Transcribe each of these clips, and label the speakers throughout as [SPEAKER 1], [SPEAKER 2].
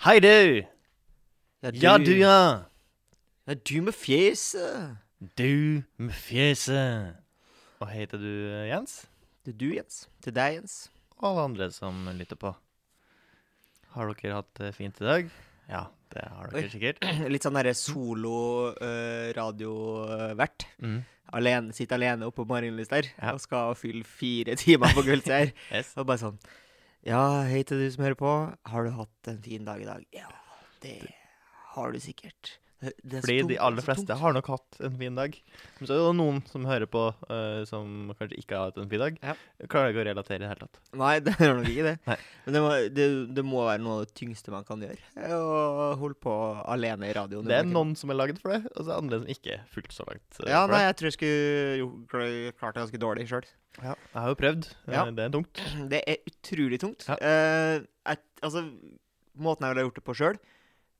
[SPEAKER 1] Hei, du!
[SPEAKER 2] Ja,
[SPEAKER 1] Ja, du, ja.
[SPEAKER 2] Ja, du med fjeset.
[SPEAKER 1] Du med fjeset. Hva heter du, eh, Jens?
[SPEAKER 2] Til du, Jens. Til deg, Jens.
[SPEAKER 1] Og alle andre som lytter på. Har dere hatt det fint i dag? Ja, det har dere
[SPEAKER 2] Oi.
[SPEAKER 1] sikkert.
[SPEAKER 2] Litt sånn derre solo eh, radiovert.
[SPEAKER 1] Mm.
[SPEAKER 2] Alene, sitter alene oppe på Marienlyst der
[SPEAKER 1] Ja.
[SPEAKER 2] og skal fylle fire timer på Gullseier.
[SPEAKER 1] Yes.
[SPEAKER 2] og bare sånn Ja, hei til du som hører på. Har du hatt en fin dag i dag? Ja, det har du sikkert. Det, det er så
[SPEAKER 1] Fordi
[SPEAKER 2] tungt,
[SPEAKER 1] de aller
[SPEAKER 2] det er så
[SPEAKER 1] fleste
[SPEAKER 2] tungt.
[SPEAKER 1] har nok hatt en fin dag. Men så er det jo noen som hører på, eh, som kanskje ikke har hatt en fin dag.
[SPEAKER 2] Ja.
[SPEAKER 1] Klarer ikke å relatere i det hele tatt.
[SPEAKER 2] Nei, det er nok ikke det.
[SPEAKER 1] Nei.
[SPEAKER 2] Men det må, det, det må være noe av det tyngste man kan gjøre. Å holde på alene i radioen.
[SPEAKER 1] Det er
[SPEAKER 2] noe
[SPEAKER 1] noen som er laget for det, og så er det andre som ikke er fullt så langt. eh,
[SPEAKER 2] Ja,
[SPEAKER 1] for
[SPEAKER 2] nei,
[SPEAKER 1] det.
[SPEAKER 2] jeg tror jeg skulle jo kl- klart det ganske dårlig sjøl.
[SPEAKER 1] ja. Jeg har jo prøvd. eh,
[SPEAKER 2] Ja.
[SPEAKER 1] Det er tungt.
[SPEAKER 2] Det er utrolig tungt.
[SPEAKER 1] Ja.
[SPEAKER 2] Eh, jeg, altså, måten jeg ville gjort det på sjøl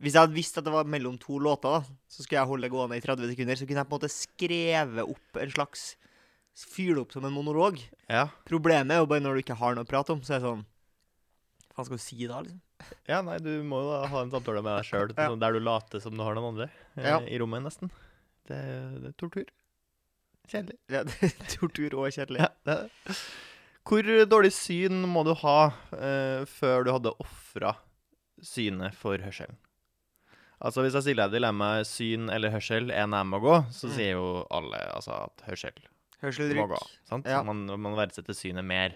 [SPEAKER 2] Hvis jeg hadde visst at det var mellom to låter, da, så skulle jeg holde det gående i 30 sekunder. Så kunne jeg på en måte skrevet opp en slags Fyre det opp som en monolog.
[SPEAKER 1] Ja.
[SPEAKER 2] Problemet er jo bare når du ikke har noe å prate om, så er det sånn Hva skal du si da, liksom?
[SPEAKER 1] ja, nei, du må jo da ha en samtale med deg sjøl
[SPEAKER 2] Ja.
[SPEAKER 1] der du later som du har noen andre eh,
[SPEAKER 2] Ja.
[SPEAKER 1] i rommet, nesten. Det, er- det er tortur. Kjedelig.
[SPEAKER 2] Ja, det er tortur og kjedelig.
[SPEAKER 1] Ja, det er det. Hvor dårlig syn må du ha eh, før du hadde ofra synet for hørselen? Altså Hvis jeg stiller deg dilemmaet syn eller hørsel, én jeg må gå, så
[SPEAKER 2] Mm.
[SPEAKER 1] sier jo alle altså, at hørsel
[SPEAKER 2] Hørsel
[SPEAKER 1] må
[SPEAKER 2] rykk.
[SPEAKER 1] gå. Sant?
[SPEAKER 2] Ja.
[SPEAKER 1] Man, man verdsetter synet mer.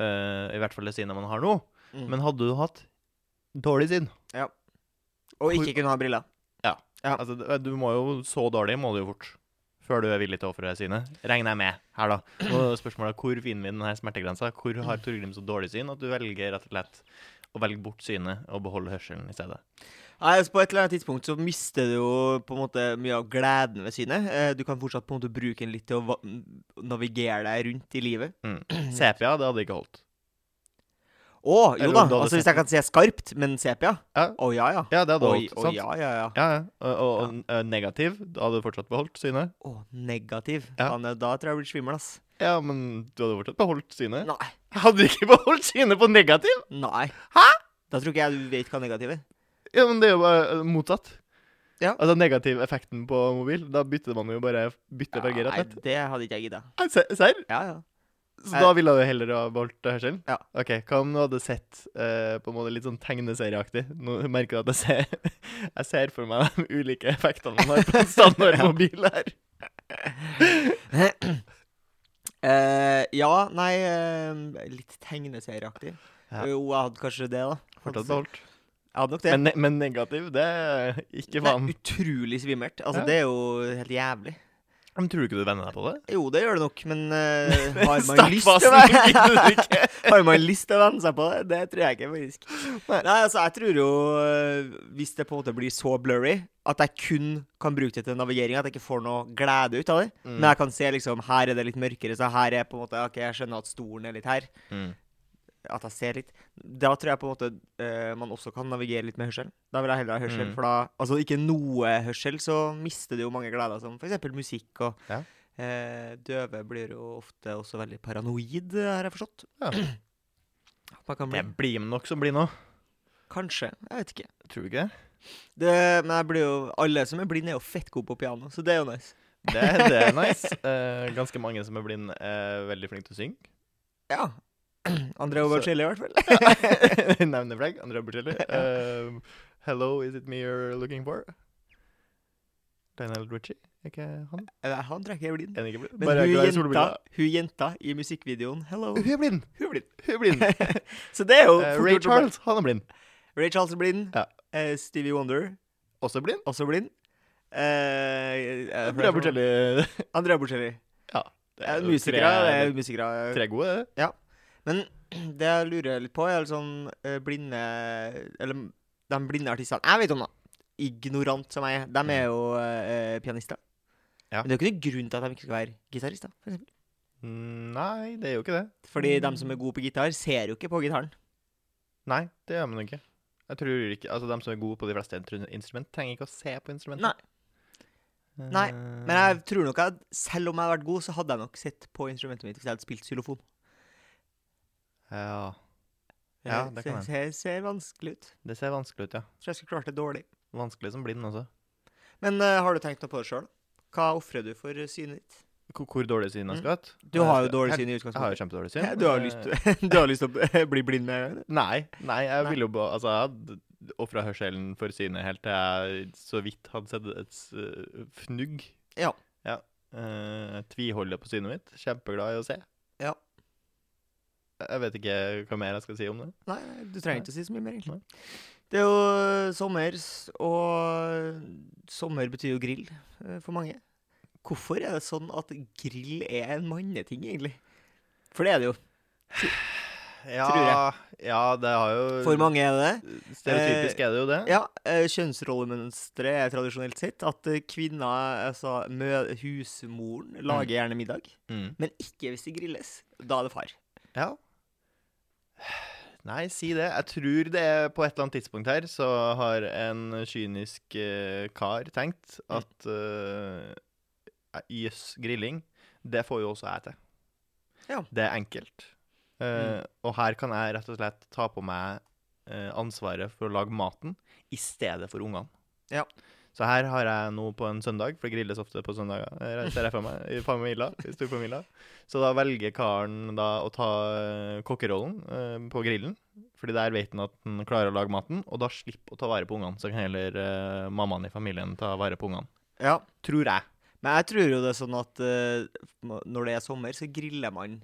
[SPEAKER 1] eh, I hvert fall det synet man har nå.
[SPEAKER 2] Mm.
[SPEAKER 1] Men hadde du hatt dårlig syn
[SPEAKER 2] Og ikke kunne ha briller. Ja.
[SPEAKER 1] altså, det- Du må jo så dårlig må du jo fort før du er villig til å ofre synet. Regner jeg med her, da. Nå er spørsmålet hvor finner vi denne smertegrensa? Hvor har Torgrim så dårlig syn at du velger rett og slett å velge bort synet og beholde hørselen i stedet?
[SPEAKER 2] Nei, altså På et eller annet tidspunkt så mister du jo på en måte mye av gleden ved synet. Eh, Du kan fortsatt på en måte bruke den litt til å va- navigere deg rundt i livet.
[SPEAKER 1] Sepia, det hadde ikke holdt.
[SPEAKER 2] Å,
[SPEAKER 1] Eller om
[SPEAKER 2] jo da!
[SPEAKER 1] du hadde
[SPEAKER 2] Altså Hvis
[SPEAKER 1] sett
[SPEAKER 2] jeg kan se skarpt, men sepia?
[SPEAKER 1] Ja.
[SPEAKER 2] Å ja, ja.
[SPEAKER 1] Ja, det hadde
[SPEAKER 2] Oi,
[SPEAKER 1] holdt.
[SPEAKER 2] å
[SPEAKER 1] Sant?
[SPEAKER 2] ja, ja, ja.
[SPEAKER 1] Ja, ja. Og, og, og eh, negativ, da hadde du fortsatt beholdt synet?
[SPEAKER 2] Å, negativ.
[SPEAKER 1] Ja.
[SPEAKER 2] Faen, Da tror jeg jeg blir svimmel, ass.
[SPEAKER 1] Ja, men du hadde fortsatt beholdt synet?
[SPEAKER 2] Nei.
[SPEAKER 1] Hadde du ikke beholdt synet på negativ?
[SPEAKER 2] Nei.
[SPEAKER 1] Hæ?
[SPEAKER 2] Da tror ikke jeg du vet hva negativ er.
[SPEAKER 1] Ja, men det er jo bare eh, motsatt.
[SPEAKER 2] Ja.
[SPEAKER 1] Altså negativ effekten på mobil. Da bytter man jo bare bytter farger rett og
[SPEAKER 2] Nei,
[SPEAKER 1] slett.
[SPEAKER 2] det hadde ikke jeg gidda.
[SPEAKER 1] Nei, se- Serr?
[SPEAKER 2] Ja, ja.
[SPEAKER 1] Så
[SPEAKER 2] Jeg-
[SPEAKER 1] da ville du heller ha beholdt hørselen?
[SPEAKER 2] Ja.
[SPEAKER 1] Ok, Hva om du hadde sett eh, på en måte litt sånn tegneserieaktig? Nå merker du at jeg ser, jeg ser for meg de ulike effektene man har på en standardmobil her.
[SPEAKER 2] Eh, ja, nei eh, Litt tegneserieaktig.
[SPEAKER 1] Ja.
[SPEAKER 2] Jo, jeg hadde kanskje det, da.
[SPEAKER 1] Fortsatt beholdt.
[SPEAKER 2] Jeg hadde nok det.
[SPEAKER 1] Men, ne- men negativ, det er ikke faen.
[SPEAKER 2] Det er utrolig svimmelt. Altså,
[SPEAKER 1] Ja.
[SPEAKER 2] Det er jo helt jævlig.
[SPEAKER 1] Men tror du ikke du venner deg på det?
[SPEAKER 2] Jo, det gjør det nok, men eh, har, man lyst til å
[SPEAKER 1] Stakkfasen gidder du
[SPEAKER 2] være,
[SPEAKER 1] ikke.
[SPEAKER 2] har man lyst til å venne seg på det? Det tror jeg ikke, faktisk.
[SPEAKER 1] Nei.
[SPEAKER 2] Nei, altså, jeg tror jo eh, Hvis det på en måte blir så blurry at jeg kun kan bruke det til navigering, at jeg ikke får noe glede ut av det,
[SPEAKER 1] Mm.
[SPEAKER 2] men jeg kan se liksom Her er det litt mørkere, så her er på en måte OK, jeg skjønner at stolen er litt her.
[SPEAKER 1] Mm.
[SPEAKER 2] At jeg ser litt Da tror jeg på en måte eh, man også kan navigere litt med hørsel. Da vil jeg heller ha hørsel,
[SPEAKER 1] Mm.
[SPEAKER 2] for da Altså ikke noe hørsel, så mister du jo mange gleder, som f.eks. musikk og
[SPEAKER 1] Ja.
[SPEAKER 2] eh, Døve blir jo ofte også veldig paranoid, har jeg forstått.
[SPEAKER 1] Ja.
[SPEAKER 2] At Man kan bli.
[SPEAKER 1] Det blir med nok som blir nå.
[SPEAKER 2] Kanskje. Jeg vet ikke.
[SPEAKER 1] Tror du ikke?
[SPEAKER 2] Det, men jeg blir jo Alle som er blinde, er jo fett gode på piano, så det er jo nice.
[SPEAKER 1] Det, det er nice. Eh, ganske mange som er blind, er veldig flinke til å synge.
[SPEAKER 2] Ja. André
[SPEAKER 1] Så-
[SPEAKER 2] Obercelli, i hvert fall.
[SPEAKER 1] Nevneflagg. Andrea Bocelli. Um, hello, is it me you're looking for? Lionel Richie? Er ikke han?
[SPEAKER 2] Nei, han tror jeg ikke er blind.
[SPEAKER 1] Er han ikke blind?
[SPEAKER 2] Men
[SPEAKER 1] Bare
[SPEAKER 2] hun
[SPEAKER 1] glad i
[SPEAKER 2] jenta,
[SPEAKER 1] solbriller.
[SPEAKER 2] hun jenta i musikkvideoen Hello.
[SPEAKER 1] Hun er blind!
[SPEAKER 2] Hun er blind.
[SPEAKER 1] Hun er blind.
[SPEAKER 2] så det er jo
[SPEAKER 1] Eh,
[SPEAKER 2] fort
[SPEAKER 1] Ray
[SPEAKER 2] gjort å bare-
[SPEAKER 1] Charles, han er blind.
[SPEAKER 2] Ray Charles er blind.
[SPEAKER 1] Ja.
[SPEAKER 2] Eh, Stevie Wonder,
[SPEAKER 1] Også blind.
[SPEAKER 2] også blind. Eh, eh,
[SPEAKER 1] Andrea Bocelli
[SPEAKER 2] Andrea Bocelli.
[SPEAKER 1] Det
[SPEAKER 2] Eh,
[SPEAKER 1] jo
[SPEAKER 2] musikere.
[SPEAKER 1] tre-
[SPEAKER 2] det er musikere.
[SPEAKER 1] Tre gode, det.
[SPEAKER 2] Men det jeg lurer litt på, er liksom eh, blinde Eller de blinde artistene jeg vet om, da. Ignorant som jeg er. De er jo eh, pianister.
[SPEAKER 1] Mm. Ja.
[SPEAKER 2] Men det er jo ikke noen grunn til at de ikke skal være gitarister. For eksempel.
[SPEAKER 1] Mm, Nei, det er jo ikke det.
[SPEAKER 2] Fordi de som er gode på gitar, ser jo ikke på gitaren.
[SPEAKER 1] Nei, det gjør man ikke. Jeg tror ikke, altså De som er gode på de fleste intru- instrument, trenger ikke å se på instrumentet. Nei,
[SPEAKER 2] Nei,
[SPEAKER 1] Mm.
[SPEAKER 2] Men jeg tror nok at selv om jeg hadde vært god, så hadde jeg nok sett på instrumentet mitt hvis jeg hadde spilt xylofon.
[SPEAKER 1] Eh, Ja. Ja, det kan
[SPEAKER 2] ser, ser, ser vanskelig ut.
[SPEAKER 1] Det ser vanskelig ut, ja.
[SPEAKER 2] Tror jeg skulle klart det dårlig.
[SPEAKER 1] Vanskelig som blind også.
[SPEAKER 2] Men eh, har du tenkt noe på det sjøl? Hva ofrer du for eh, synet ditt?
[SPEAKER 1] Hvor, hvor dårlig syn jeg skal ha?
[SPEAKER 2] Mm. Du har jo dårlig
[SPEAKER 1] Jeg,
[SPEAKER 2] syn i
[SPEAKER 1] jeg har jo
[SPEAKER 2] utgangspunktet.
[SPEAKER 1] kjempedårlig syn.
[SPEAKER 2] Ja, Du har jo lyst, du har lyst til å bli blind med en gang? du.
[SPEAKER 1] Nei. nei, jeg
[SPEAKER 2] Nei.
[SPEAKER 1] ville jo bare Altså, jeg hadde ofra hørselen for synet helt til jeg så vidt hadde sett et s- fnugg.
[SPEAKER 2] Ja.
[SPEAKER 1] ja. Eh, jeg tviholder på synet mitt. Kjempeglad i å se.
[SPEAKER 2] Ja.
[SPEAKER 1] Jeg vet ikke hva mer jeg skal si om det.
[SPEAKER 2] Nei, nei, du trenger ikke å si så mye mer,
[SPEAKER 1] Nei.
[SPEAKER 2] egentlig. Det er jo eh, sommer, s- og eh, sommer betyr jo grill eh, for mange. Hvorfor er det sånn at grill er en manneting, egentlig? For det er det jo.
[SPEAKER 1] Ja, ja det har jo
[SPEAKER 2] For mange er det det.
[SPEAKER 1] Stereotypisk er det jo det.
[SPEAKER 2] Ja, eh, kjønnsrollemønsteret er tradisjonelt sett at eh, kvinner, altså mø husmoren, lager gjerne middag.
[SPEAKER 1] Mm.
[SPEAKER 2] Men ikke hvis det grilles. Da er det far.
[SPEAKER 1] Ja. Nei, si det. Jeg tror det er på et eller annet tidspunkt her, så har en kynisk eh, kar tenkt
[SPEAKER 2] Mm.
[SPEAKER 1] at eh, jøss, grilling, det får jo også jeg til.
[SPEAKER 2] Ja. Mm.
[SPEAKER 1] Det er enkelt. Eh, Og her kan jeg rett og slett ta på meg eh, ansvaret for å lage maten i stedet for ungene.
[SPEAKER 2] Ja.
[SPEAKER 1] Så her har jeg noe på en søndag, for det grilles ofte på søndager, eh, ser jeg for meg, i familier, i storfamilier. Så da velger karen da å ta eh, kokkerollen eh, på grillen, fordi der vet han at han klarer å lage maten, og da slipper å ta vare på ungene, så kan heller eh, mammaen i familien ta vare på ungene.
[SPEAKER 2] Ja,
[SPEAKER 1] Tror jeg.
[SPEAKER 2] Men jeg tror jo det er sånn at eh, ma- når det er sommer, så griller man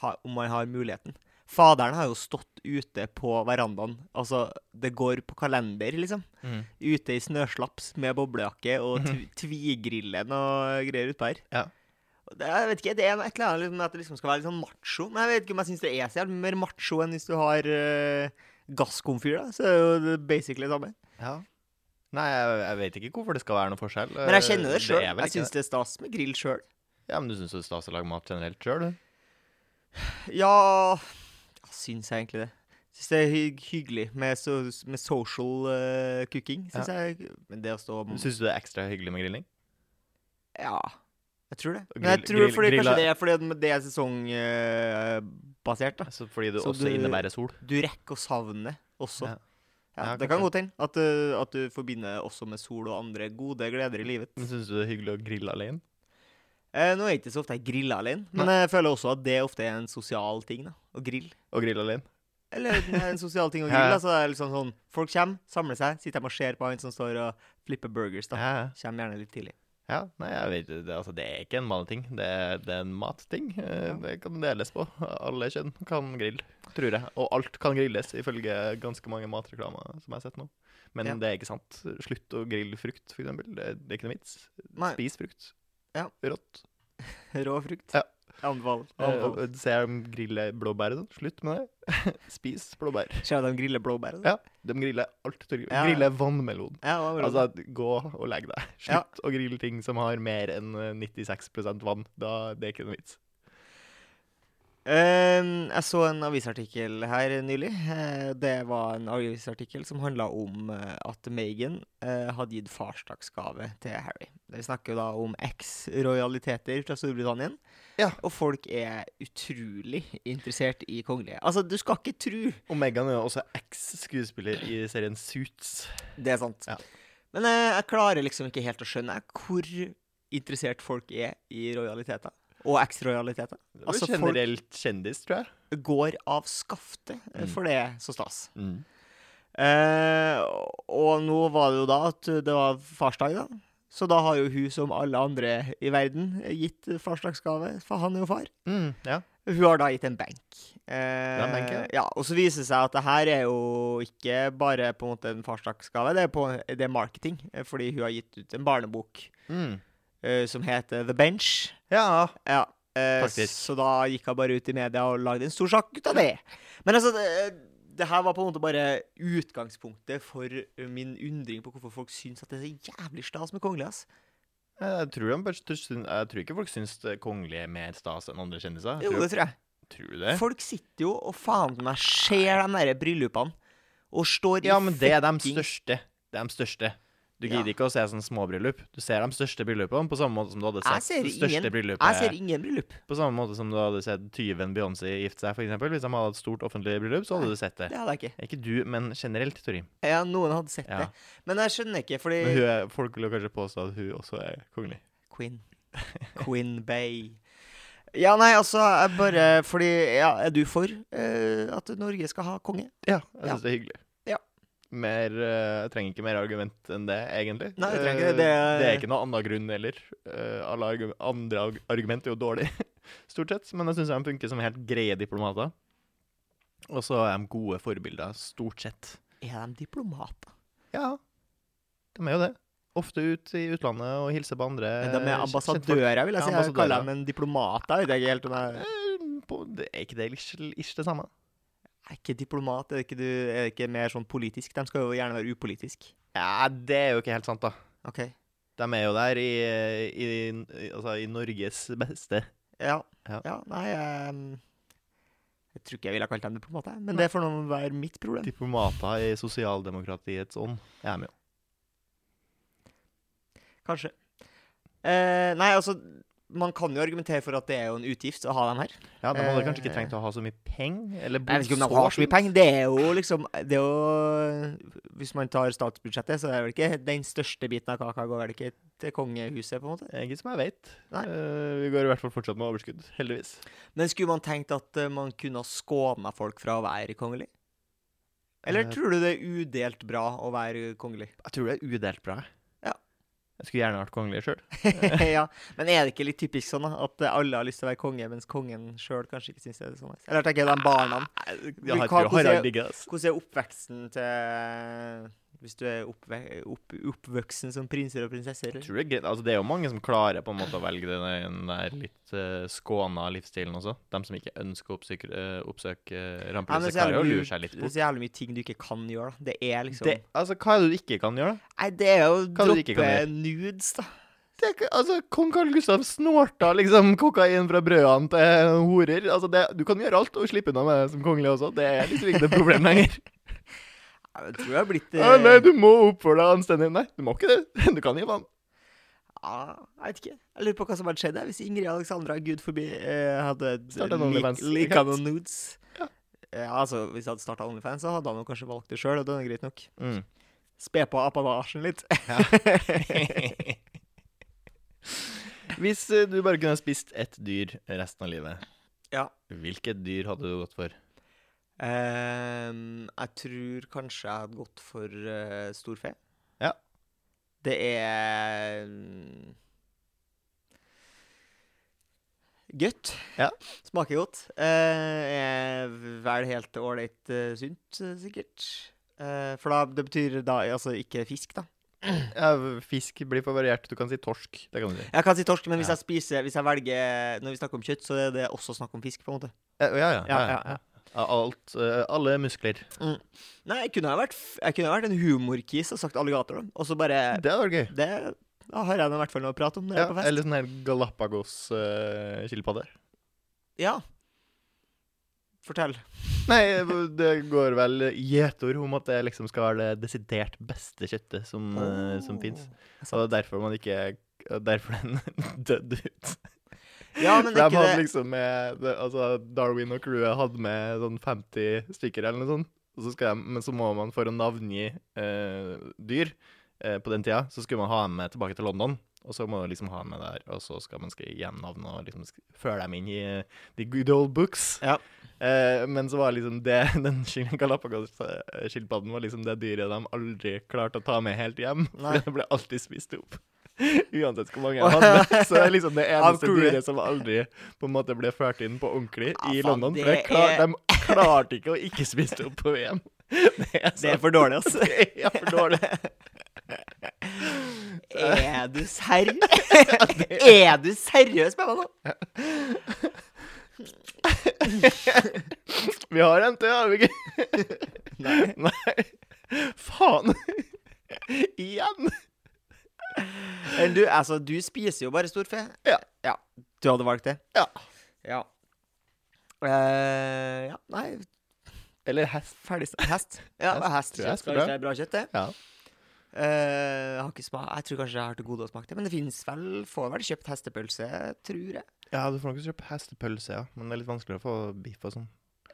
[SPEAKER 2] ha, om man har muligheten. Faderen har jo stått ute på verandaen. Altså, det går på kalender, liksom. Ute i snøslaps med boblejakke og tv tvigrillen og greier utpå her.
[SPEAKER 1] Mhm. Ja.
[SPEAKER 2] Og Det, jeg vet ikke, det er noe- et eller annet liksom, med at det liksom skal være litt sånn macho. Men jeg vet ikke om jeg syns det er så jævlig mye mer macho enn hvis du har uh, gasskomfyr, da. Så er jo det basically det samme.
[SPEAKER 1] Ja. Nei, jeg, jeg vet ikke hvorfor det skal være noe forskjell.
[SPEAKER 2] Men jeg kjenner det
[SPEAKER 1] Eh,
[SPEAKER 2] sjøl.
[SPEAKER 1] er vel
[SPEAKER 2] Jeg
[SPEAKER 1] ikke
[SPEAKER 2] syns det er stas med grill sjøl.
[SPEAKER 1] Ja, men du syns det er stas å lage mat generelt sjøl, du?
[SPEAKER 2] Ja, jeg syns jeg egentlig det. Syns det er hy hyggelig med, so med social eh, cooking, syns jeg. Men det å stå
[SPEAKER 1] Syns du det er ekstra hyggelig med grilling?
[SPEAKER 2] Ja, jeg tror det. Men
[SPEAKER 1] Grill-
[SPEAKER 2] jeg tror
[SPEAKER 1] grill-
[SPEAKER 2] fordi,
[SPEAKER 1] grilla-
[SPEAKER 2] kanskje det er fordi det er sesongbasert, da.
[SPEAKER 1] Altså, fordi det
[SPEAKER 2] Så
[SPEAKER 1] også
[SPEAKER 2] du-
[SPEAKER 1] innebærer sol?
[SPEAKER 2] Du rekker å savne det også.
[SPEAKER 1] Ja.
[SPEAKER 2] Ja.
[SPEAKER 1] Ja,
[SPEAKER 2] det kan
[SPEAKER 1] kanskje.
[SPEAKER 2] godt hende at, eh, at du forbinder også med sol og andre gode gleder i livet.
[SPEAKER 1] Men syns du det er hyggelig å grille alene?
[SPEAKER 2] Eh, nå er det ikke så ofte jeg griller alene, men jeg føler også at det ofte er en sosial ting. da, Å grille.
[SPEAKER 1] Å grille alene?
[SPEAKER 2] Eller det er en sosial ting å
[SPEAKER 1] Ja,
[SPEAKER 2] grille.
[SPEAKER 1] ja.
[SPEAKER 2] Altså, det er liksom sånn, folk kommer, samler seg, sitter de og ser på han som står og flipper burgers. da.
[SPEAKER 1] Ja, ja.
[SPEAKER 2] Kommer gjerne litt tidlig.
[SPEAKER 1] ja. Nei, jeg vet ikke. det. Altså, det er ikke en manneting. Det, er- det er en matting. Eh, Det kan deles på. Alle kjønn kan grille, tror jeg. Og alt kan grilles, ifølge ganske mange matreklamer som jeg har sett nå. Men
[SPEAKER 2] Ja.
[SPEAKER 1] det er ikke sant. Slutt å grille frukt, for eksempel. Det, det er ikke noe vits.
[SPEAKER 2] Nei.
[SPEAKER 1] Spis frukt.
[SPEAKER 2] Ja.
[SPEAKER 1] Rått.
[SPEAKER 2] Rå frukt.
[SPEAKER 1] Ja.
[SPEAKER 2] Jeg Anbefaler. jeg
[SPEAKER 1] Eh,
[SPEAKER 2] anbefaler.
[SPEAKER 1] og Ser de griller blåbær og sånn, slutt med det. Spis blåbær.
[SPEAKER 2] Ser du de griller blåbær? da?
[SPEAKER 1] Ja, de griller alt. du-
[SPEAKER 2] Ja.
[SPEAKER 1] Griller vannmelon.
[SPEAKER 2] Ja, det var bra.
[SPEAKER 1] Altså, gå og legg deg.
[SPEAKER 2] Ja.
[SPEAKER 1] Slutt å grille ting som har mer enn eh, 96 vann. Da, det er ikke noe vits.
[SPEAKER 2] Ehm, jeg så en avisartikkel her nylig. Eh, Det var en avisartikkel som handla om eh, at Meghan eh, hadde gitt farsdagsgave til Harry. Vi snakker jo da om eks-rojaliteter fra Storbritannia.
[SPEAKER 1] Ja.
[SPEAKER 2] Og folk er utrolig interessert i kongelige. Altså, du skal ikke tru
[SPEAKER 1] Og Meghan er jo også eks-skuespiller i serien Suits.
[SPEAKER 2] Det er sant.
[SPEAKER 1] Ja.
[SPEAKER 2] Men eh, jeg klarer liksom ikke helt å skjønne jeg, hvor interessert folk er i rojaliteter. Og eks-rojaliteter.
[SPEAKER 1] Det
[SPEAKER 2] Altså,
[SPEAKER 1] altså,
[SPEAKER 2] folk-
[SPEAKER 1] generelt kjendis, tror jeg.
[SPEAKER 2] Går av skaftet,
[SPEAKER 1] Mm.
[SPEAKER 2] eh, for det er så stas.
[SPEAKER 1] Mm.
[SPEAKER 2] Eh, og nå var det jo da at det var farsdag, da. Så da har jo hun, som alle andre i verden, gitt farsdagsgave. For han er jo far.
[SPEAKER 1] Mm, ja.
[SPEAKER 2] Hun har da gitt en benk. Eh,
[SPEAKER 1] er en benk,
[SPEAKER 2] ja. Og så viser det seg at det her er jo ikke bare på en måte en farsdagsgave, det er, på, det er marketing. eh, Fordi hun har gitt ut en barnebok eh, som heter The Bench.
[SPEAKER 1] Mm. ja.
[SPEAKER 2] Ja. eh,
[SPEAKER 1] Faktisk.
[SPEAKER 2] Så da gikk hun bare ut i media og lagde en stor sak ut av det. Men altså, det, det her var på en måte bare utgangspunktet for eh, min undring på hvorfor folk syns at det er så jævlig stas med kongelige. ass.
[SPEAKER 1] Jeg tror, de bare syns- jeg tror ikke folk syns det kongelige er mer stas enn andre kjendiser.
[SPEAKER 2] Jo,
[SPEAKER 1] Tror,
[SPEAKER 2] det tror jeg.
[SPEAKER 1] tror du det?
[SPEAKER 2] Folk sitter jo og faen meg ser de der bryllupene, og står i
[SPEAKER 1] Ja, men det er de
[SPEAKER 2] fucking
[SPEAKER 1] største. De største. Du gidder
[SPEAKER 2] Ja.
[SPEAKER 1] ikke å se sånne små bryllup. Du ser de største bryllupene på samme måte som du hadde
[SPEAKER 2] Jeg
[SPEAKER 1] sett
[SPEAKER 2] ser
[SPEAKER 1] det altså, største
[SPEAKER 2] ingen-
[SPEAKER 1] bryllupet
[SPEAKER 2] Jeg ser ingen bryllup.
[SPEAKER 1] På samme måte som du hadde sett tyven Beyoncé gifte seg, for eksempel Hvis de hadde et stort offentlig bryllup, så hadde du sett det.
[SPEAKER 2] Det hadde jeg ikke.
[SPEAKER 1] Ikke du, men generelt, Torim.
[SPEAKER 2] Ja, noen hadde sett
[SPEAKER 1] Ja.
[SPEAKER 2] det. Men jeg skjønner ikke, fordi
[SPEAKER 1] Men hun er, folk vil jo kanskje påstå at hun også er kongelig.
[SPEAKER 2] Queen. Queen Bay. Ja, nei, altså, jeg bare Fordi ja, Er du for eh, at Norge skal ha konge?
[SPEAKER 1] Ja, jeg
[SPEAKER 2] Ja.
[SPEAKER 1] syns det er hyggelig.
[SPEAKER 2] Ja.
[SPEAKER 1] Mer, eh, jeg trenger ikke mer argument enn det, egentlig.
[SPEAKER 2] Nei, jeg trenger ikke
[SPEAKER 1] Eh,
[SPEAKER 2] det. Det er-
[SPEAKER 1] det er ikke noe annen grunn heller. Eh, alle argu- andre arg- argument er jo dårlig, stort sett. Men jeg syns de funker som helt greie diplomater. Og så er de gode forbilder, stort sett.
[SPEAKER 2] Er de diplomater?
[SPEAKER 1] Ja, de er jo det. Ofte ut i utlandet og hilser på andre.
[SPEAKER 2] Men de er
[SPEAKER 1] eh, kjentfolk.
[SPEAKER 2] ambassadører, vil jeg si.
[SPEAKER 1] Ja,
[SPEAKER 2] Jeg
[SPEAKER 1] ambassadører.
[SPEAKER 2] kaller dem en diplomat. Jeg vet ikke helt om jeg
[SPEAKER 1] Eh, på- det- Er ikke det ish, ish det samme?
[SPEAKER 2] Er ikke diplomat Er det ikke, du, er det ikke mer sånn politisk? De skal jo gjerne være upolitisk.
[SPEAKER 1] Ja, det er jo ikke helt sant, da.
[SPEAKER 2] OK.
[SPEAKER 1] De er jo der i, i, i, altså, i Norges beste
[SPEAKER 2] Ja.
[SPEAKER 1] Ja.
[SPEAKER 2] ja. nei ehm, Jeg tror ikke jeg ville ha kalt dem diplomater, men det får nå være mitt problem.
[SPEAKER 1] Diplomater i sosialdemokratiets ånd. Jeg er med.
[SPEAKER 2] Kanskje. Eh, nei, altså Man kan jo argumentere for at det er jo en utgift å ha dem her.
[SPEAKER 1] Ja, De hadde kanskje
[SPEAKER 2] Eh.
[SPEAKER 1] ikke trengt å ha så mye penger? Eller
[SPEAKER 2] Jeg vet ikke om de har så mye penger. Det er jo liksom det er jo, Hvis man tar statsbudsjettet, så er det vel ikke den største biten av kaka går vel ikke til kongehuset, på en måte.
[SPEAKER 1] Ikke som jeg vet.
[SPEAKER 2] Nei.
[SPEAKER 1] Eh, vi går i hvert fall fortsatt med overskudd, heldigvis.
[SPEAKER 2] Men skulle man tenkt at eh, man kunne ha skåna folk fra å være kongelig? Eller
[SPEAKER 1] Eh.
[SPEAKER 2] tror du det er udelt bra å være kongelig?
[SPEAKER 1] Jeg tror det er udelt bra.
[SPEAKER 2] Ja.
[SPEAKER 1] Jeg skulle gjerne vært kongelig sjøl.
[SPEAKER 2] ja, Men er det ikke litt typisk sånn da, at eh, alle har lyst til å være konge, mens kongen sjøl kanskje ikke syns det er sånn? Eller tenker jeg de barna
[SPEAKER 1] Jeg
[SPEAKER 2] hva-
[SPEAKER 1] tror
[SPEAKER 2] hvordan er-
[SPEAKER 1] Harald digger det. ass.
[SPEAKER 2] Hvordan er oppveksten til Hvis du er oppve opp oppvoksen som prinser og prinsesser?
[SPEAKER 1] Jeg tror det, er greit. altså, det er jo mange som klarer på en måte å velge den der- den der litt uh, skåna livsstilen også. De som ikke ønsker å oppsøke, eh, oppsøke eh,
[SPEAKER 2] Ja, men
[SPEAKER 1] rampelyset,
[SPEAKER 2] så
[SPEAKER 1] klarer jo å
[SPEAKER 2] jævlig
[SPEAKER 1] lure
[SPEAKER 2] mye-
[SPEAKER 1] seg litt
[SPEAKER 2] Det er
[SPEAKER 1] bort.
[SPEAKER 2] så jævlig mye ting du ikke kan gjøre. da. Det er liksom
[SPEAKER 1] Det, altså, hva er det du ikke kan gjøre, da?
[SPEAKER 2] Nei, det er jo å
[SPEAKER 1] Hva du ikke
[SPEAKER 2] droppe
[SPEAKER 1] kan
[SPEAKER 2] nudes, da.
[SPEAKER 1] Det er ikke- altså, Kong Carl Gustav snorta liksom kokain fra brødene til horer. Altså, det, Du kan gjøre alt og slippe unna med det som kongelig også. Det er liksom ikke det problemet lenger.
[SPEAKER 2] Jeg tror jeg har blitt
[SPEAKER 1] Ja,
[SPEAKER 2] eh,
[SPEAKER 1] nei, du må oppføre deg anstendig. Nei, du må ikke det. Du kan gi faen.
[SPEAKER 2] eh, ja, Jeg vet ikke. Jeg lurer på hva som hadde skjedd der hvis Ingrid Alexandra, gud forbi, eh, hadde
[SPEAKER 1] Startet en
[SPEAKER 2] lik-
[SPEAKER 1] OnlyFans, ikke
[SPEAKER 2] lika
[SPEAKER 1] sant?
[SPEAKER 2] noen nudes. Ja, altså, Hvis jeg hadde starta OnlyFans, så hadde han jo kanskje valgt det sjøl, og det er greit nok.
[SPEAKER 1] Mm.
[SPEAKER 2] Spe på apanasjen litt.
[SPEAKER 1] Hvis eh, du bare kunne ha spist ett dyr resten av livet,
[SPEAKER 2] Ja.
[SPEAKER 1] hvilket dyr hadde du gått for?
[SPEAKER 2] Ehm, jeg tror kanskje jeg hadde gått for eh, storfe.
[SPEAKER 1] Ja.
[SPEAKER 2] Det er mm, Godt.
[SPEAKER 1] Ja.
[SPEAKER 2] Smaker godt. Eh, er vel helt ålreit eh, sunt, eh, sikkert. Eh, for da, det betyr da altså ikke fisk, da.
[SPEAKER 1] Ja, fisk blir for variert. Du kan si torsk. Det kan du si.
[SPEAKER 2] Jeg kan si torsk, men hvis
[SPEAKER 1] Ja.
[SPEAKER 2] jeg spiser Hvis jeg velger Når vi snakker om kjøtt, så er det også snakk om fisk, på en måte.
[SPEAKER 1] Ja, Eh, ja. ja,
[SPEAKER 2] Ja, ja, ja.
[SPEAKER 1] Alt, eh, alle muskler.
[SPEAKER 2] Nei, jeg kunne ha vært, f- jeg kunne ha vært en humorkis og sagt alligator, da. Og så bare
[SPEAKER 1] Det hadde vært gøy.
[SPEAKER 2] Det da har jeg nå i hvert fall noe å prate om når jeg
[SPEAKER 1] Ja,
[SPEAKER 2] er på fest.
[SPEAKER 1] eller sånn her eh, Galapagos-skilpadde.
[SPEAKER 2] Ja. Fortell.
[SPEAKER 1] Nei, det går vel gjetord om at det liksom skal være det desidert beste kjøttet som, oh. som fins. Og det er derfor man ikke Derfor den døde ut.
[SPEAKER 2] Ja, men
[SPEAKER 1] For
[SPEAKER 2] det
[SPEAKER 1] de
[SPEAKER 2] er ikke
[SPEAKER 1] hadde
[SPEAKER 2] det.
[SPEAKER 1] liksom med det- Altså, Darwin og crewet hadde med sånn 50 stykker eller noe sånt. Og så skal de, men så må man for å navngi eh, dyr eh, på den tida, så skulle man ha dem med tilbake til London. Og så må man liksom ha dem med der, og så skal man skrive hjem navn og liksom sk- føre dem inn i eh, the good old books.
[SPEAKER 2] Ja.
[SPEAKER 1] Eh, men så var liksom det Den skil- Galapagos-skilpadden var liksom det dyret de aldri klarte å ta med helt hjem.
[SPEAKER 2] Nei.
[SPEAKER 1] For det ble alltid spist opp. Uansett hvor mange jeg hadde. Så det er liksom det
[SPEAKER 2] Av
[SPEAKER 1] eneste
[SPEAKER 2] crewet.
[SPEAKER 1] dyret som aldri på en måte ble ført inn på ordentlig
[SPEAKER 2] Ja,
[SPEAKER 1] i
[SPEAKER 2] faen,
[SPEAKER 1] London. For
[SPEAKER 2] Altså, det
[SPEAKER 1] det klar,
[SPEAKER 2] er-
[SPEAKER 1] de klarte ikke å ikke spise det opp på VM. Det er,
[SPEAKER 2] Det
[SPEAKER 1] så-
[SPEAKER 2] er for dårlig, altså.
[SPEAKER 1] det er for dårlig.
[SPEAKER 2] Er du serr? er du seriøs med meg nå?
[SPEAKER 1] Vi har en til, har vi ikke?
[SPEAKER 2] Nei.
[SPEAKER 1] Faen! Igjen!
[SPEAKER 2] Men du, altså, du spiser jo bare storfe.
[SPEAKER 1] Ja.
[SPEAKER 2] ja. Du hadde valgt det?
[SPEAKER 1] Ja.
[SPEAKER 2] Ja. Eh, ja. Nei,
[SPEAKER 1] Eller hest.
[SPEAKER 2] ferdig snakket. Hest. Ja,
[SPEAKER 1] Hest, tror
[SPEAKER 2] hest.
[SPEAKER 1] jeg,
[SPEAKER 2] Hestkjøtt.
[SPEAKER 1] skal bra.
[SPEAKER 2] Kanskje er bra kjøtt, det.
[SPEAKER 1] Ja.
[SPEAKER 2] Eh, jeg, har ikke sma jeg tror kanskje jeg har til gode å smake det, men det finnes vel Får vel kjøpt hestepølse, tror jeg.
[SPEAKER 1] Ja, du får nok kjøpe hestepølse, ja. Men det er litt vanskeligere å få biff og sånn.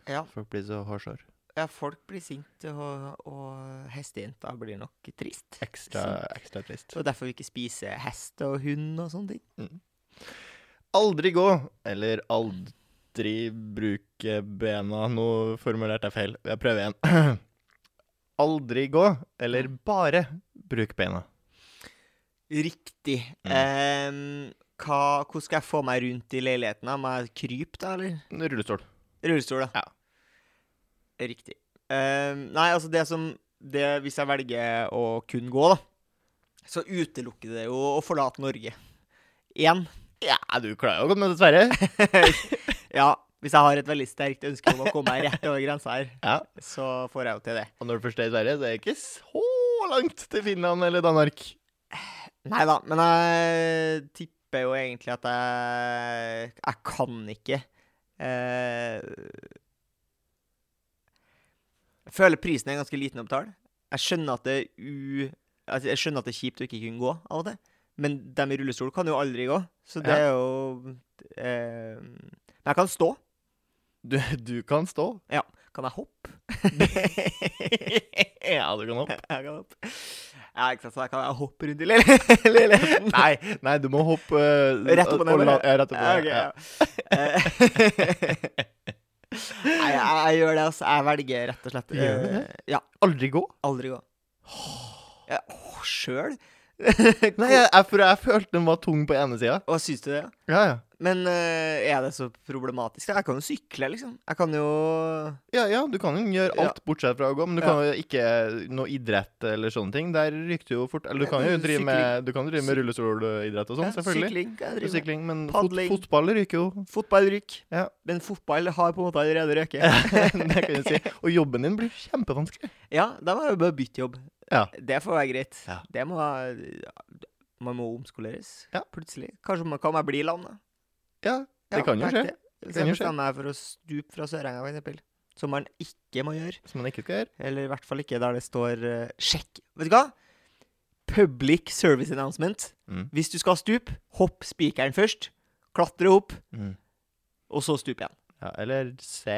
[SPEAKER 2] Ja,
[SPEAKER 1] Folk blir så hårsår.
[SPEAKER 2] ja folk blir sinte, og, og hestejenta blir nok trist.
[SPEAKER 1] Ekstra,
[SPEAKER 2] Sant.
[SPEAKER 1] ekstra trist.
[SPEAKER 2] Det er derfor vi ikke spiser hest og hund og sånne ting.
[SPEAKER 1] Aldri gå, eller aldri bruke bena. Nå formulerte jeg feil. Jeg prøver igjen. Aldri gå, eller bare bruk bena.
[SPEAKER 2] Riktig.
[SPEAKER 1] Mm.
[SPEAKER 2] Ehm, hva, hvordan skal jeg få meg rundt i leiligheten? da? Må jeg krype, da, eller?
[SPEAKER 1] Rullestol.
[SPEAKER 2] Rullestol, da. Riktig. Ehm, nei, altså, det som det, Hvis jeg velger å kun gå, da, så utelukker det jo å forlate Norge. Igjen.
[SPEAKER 1] Ja, du klarer jo å komme deg til Sverige.
[SPEAKER 2] Ja, hvis jeg har et veldig sterkt ønske om å komme meg rett over grensa her,
[SPEAKER 1] Ja.
[SPEAKER 2] så får jeg jo til det.
[SPEAKER 1] Og når du først er i Sverige, så er det ikke så langt til Finland eller Danmark.
[SPEAKER 2] Nei da, men jeg tipper jo egentlig at jeg Jeg kan ikke eh, Jeg føler prisen er ganske liten å betale. Jeg skjønner at det er u... Altså, jeg skjønner at det er kjipt å ikke kunne gå av og til, men dem i rullestol kan jo aldri gå, så det er jo eh, Men jeg kan stå.
[SPEAKER 1] Du, du kan stå.
[SPEAKER 2] Kan jeg hoppe?
[SPEAKER 1] ja, du kan hoppe.
[SPEAKER 2] Jeg kan hoppe. Ja, ikke sant, så jeg kan jeg hoppe rundt i leil- leiligheten.
[SPEAKER 1] Nei, nei, du må hoppe eh,
[SPEAKER 2] Rett opp og ned,
[SPEAKER 1] la-
[SPEAKER 2] bare?
[SPEAKER 1] Ja, rett opp og
[SPEAKER 2] Ja,
[SPEAKER 1] ned.
[SPEAKER 2] ok,
[SPEAKER 1] ja.
[SPEAKER 2] ja. Eh, Nei, jeg, jeg gjør det, altså. Jeg velger rett og slett
[SPEAKER 1] Du gjør det?
[SPEAKER 2] eh, Ja.
[SPEAKER 1] Aldri gå?
[SPEAKER 2] Aldri gå. Ja, åh, Sjøl?
[SPEAKER 1] Nei, jeg, jeg, for jeg følte den var tung på ene sida.
[SPEAKER 2] Hva syns du det? ja?
[SPEAKER 1] Ja, ja.
[SPEAKER 2] Men eh, er det så problematisk? Jeg kan jo sykle, liksom. Jeg kan jo
[SPEAKER 1] Ja, ja, du kan jo gjøre alt bortsett fra å gå, men du
[SPEAKER 2] Ja.
[SPEAKER 1] kan jo ikke noe idrett eller sånne ting. Der ryker du jo fort. Eller du kan jo
[SPEAKER 2] Men
[SPEAKER 1] drive med, du kan drive med rullestolidrett og
[SPEAKER 2] ja,
[SPEAKER 1] sånn, selvfølgelig.
[SPEAKER 2] Sykling kan jeg
[SPEAKER 1] Og
[SPEAKER 2] drive med.
[SPEAKER 1] Sykling, men fot,
[SPEAKER 2] Padling.
[SPEAKER 1] fotball ryker jo.
[SPEAKER 2] Fotballrykk.
[SPEAKER 1] Ja.
[SPEAKER 2] Men fotball har på en måte allerede røket.
[SPEAKER 1] det kan du si. Og jobben din blir kjempevanskelig.
[SPEAKER 2] Ja, da må jeg jo bare bytte jobb.
[SPEAKER 1] Ja.
[SPEAKER 2] Det får være greit.
[SPEAKER 1] Ja.
[SPEAKER 2] Det må Man må omskoleres
[SPEAKER 1] Ja.
[SPEAKER 2] plutselig. Kanskje man kan man bli lam, da.
[SPEAKER 1] Ja, det kan jo
[SPEAKER 2] tenk
[SPEAKER 1] skje.
[SPEAKER 2] Hvis
[SPEAKER 1] Kan
[SPEAKER 2] jeg
[SPEAKER 1] jo skje.
[SPEAKER 2] bestemmer meg for å stupe fra Sørenga, for eksempel. Som man ikke må gjøre.
[SPEAKER 1] Som man ikke skal gjøre.
[SPEAKER 2] Eller i hvert fall ikke der det står eh, 'sjekk'. Vet du hva? Public service announcement.
[SPEAKER 1] Mm.
[SPEAKER 2] Hvis du skal stupe, hopp spikeren først. Klatre opp, og så stup igjen.
[SPEAKER 1] Ja, eller se,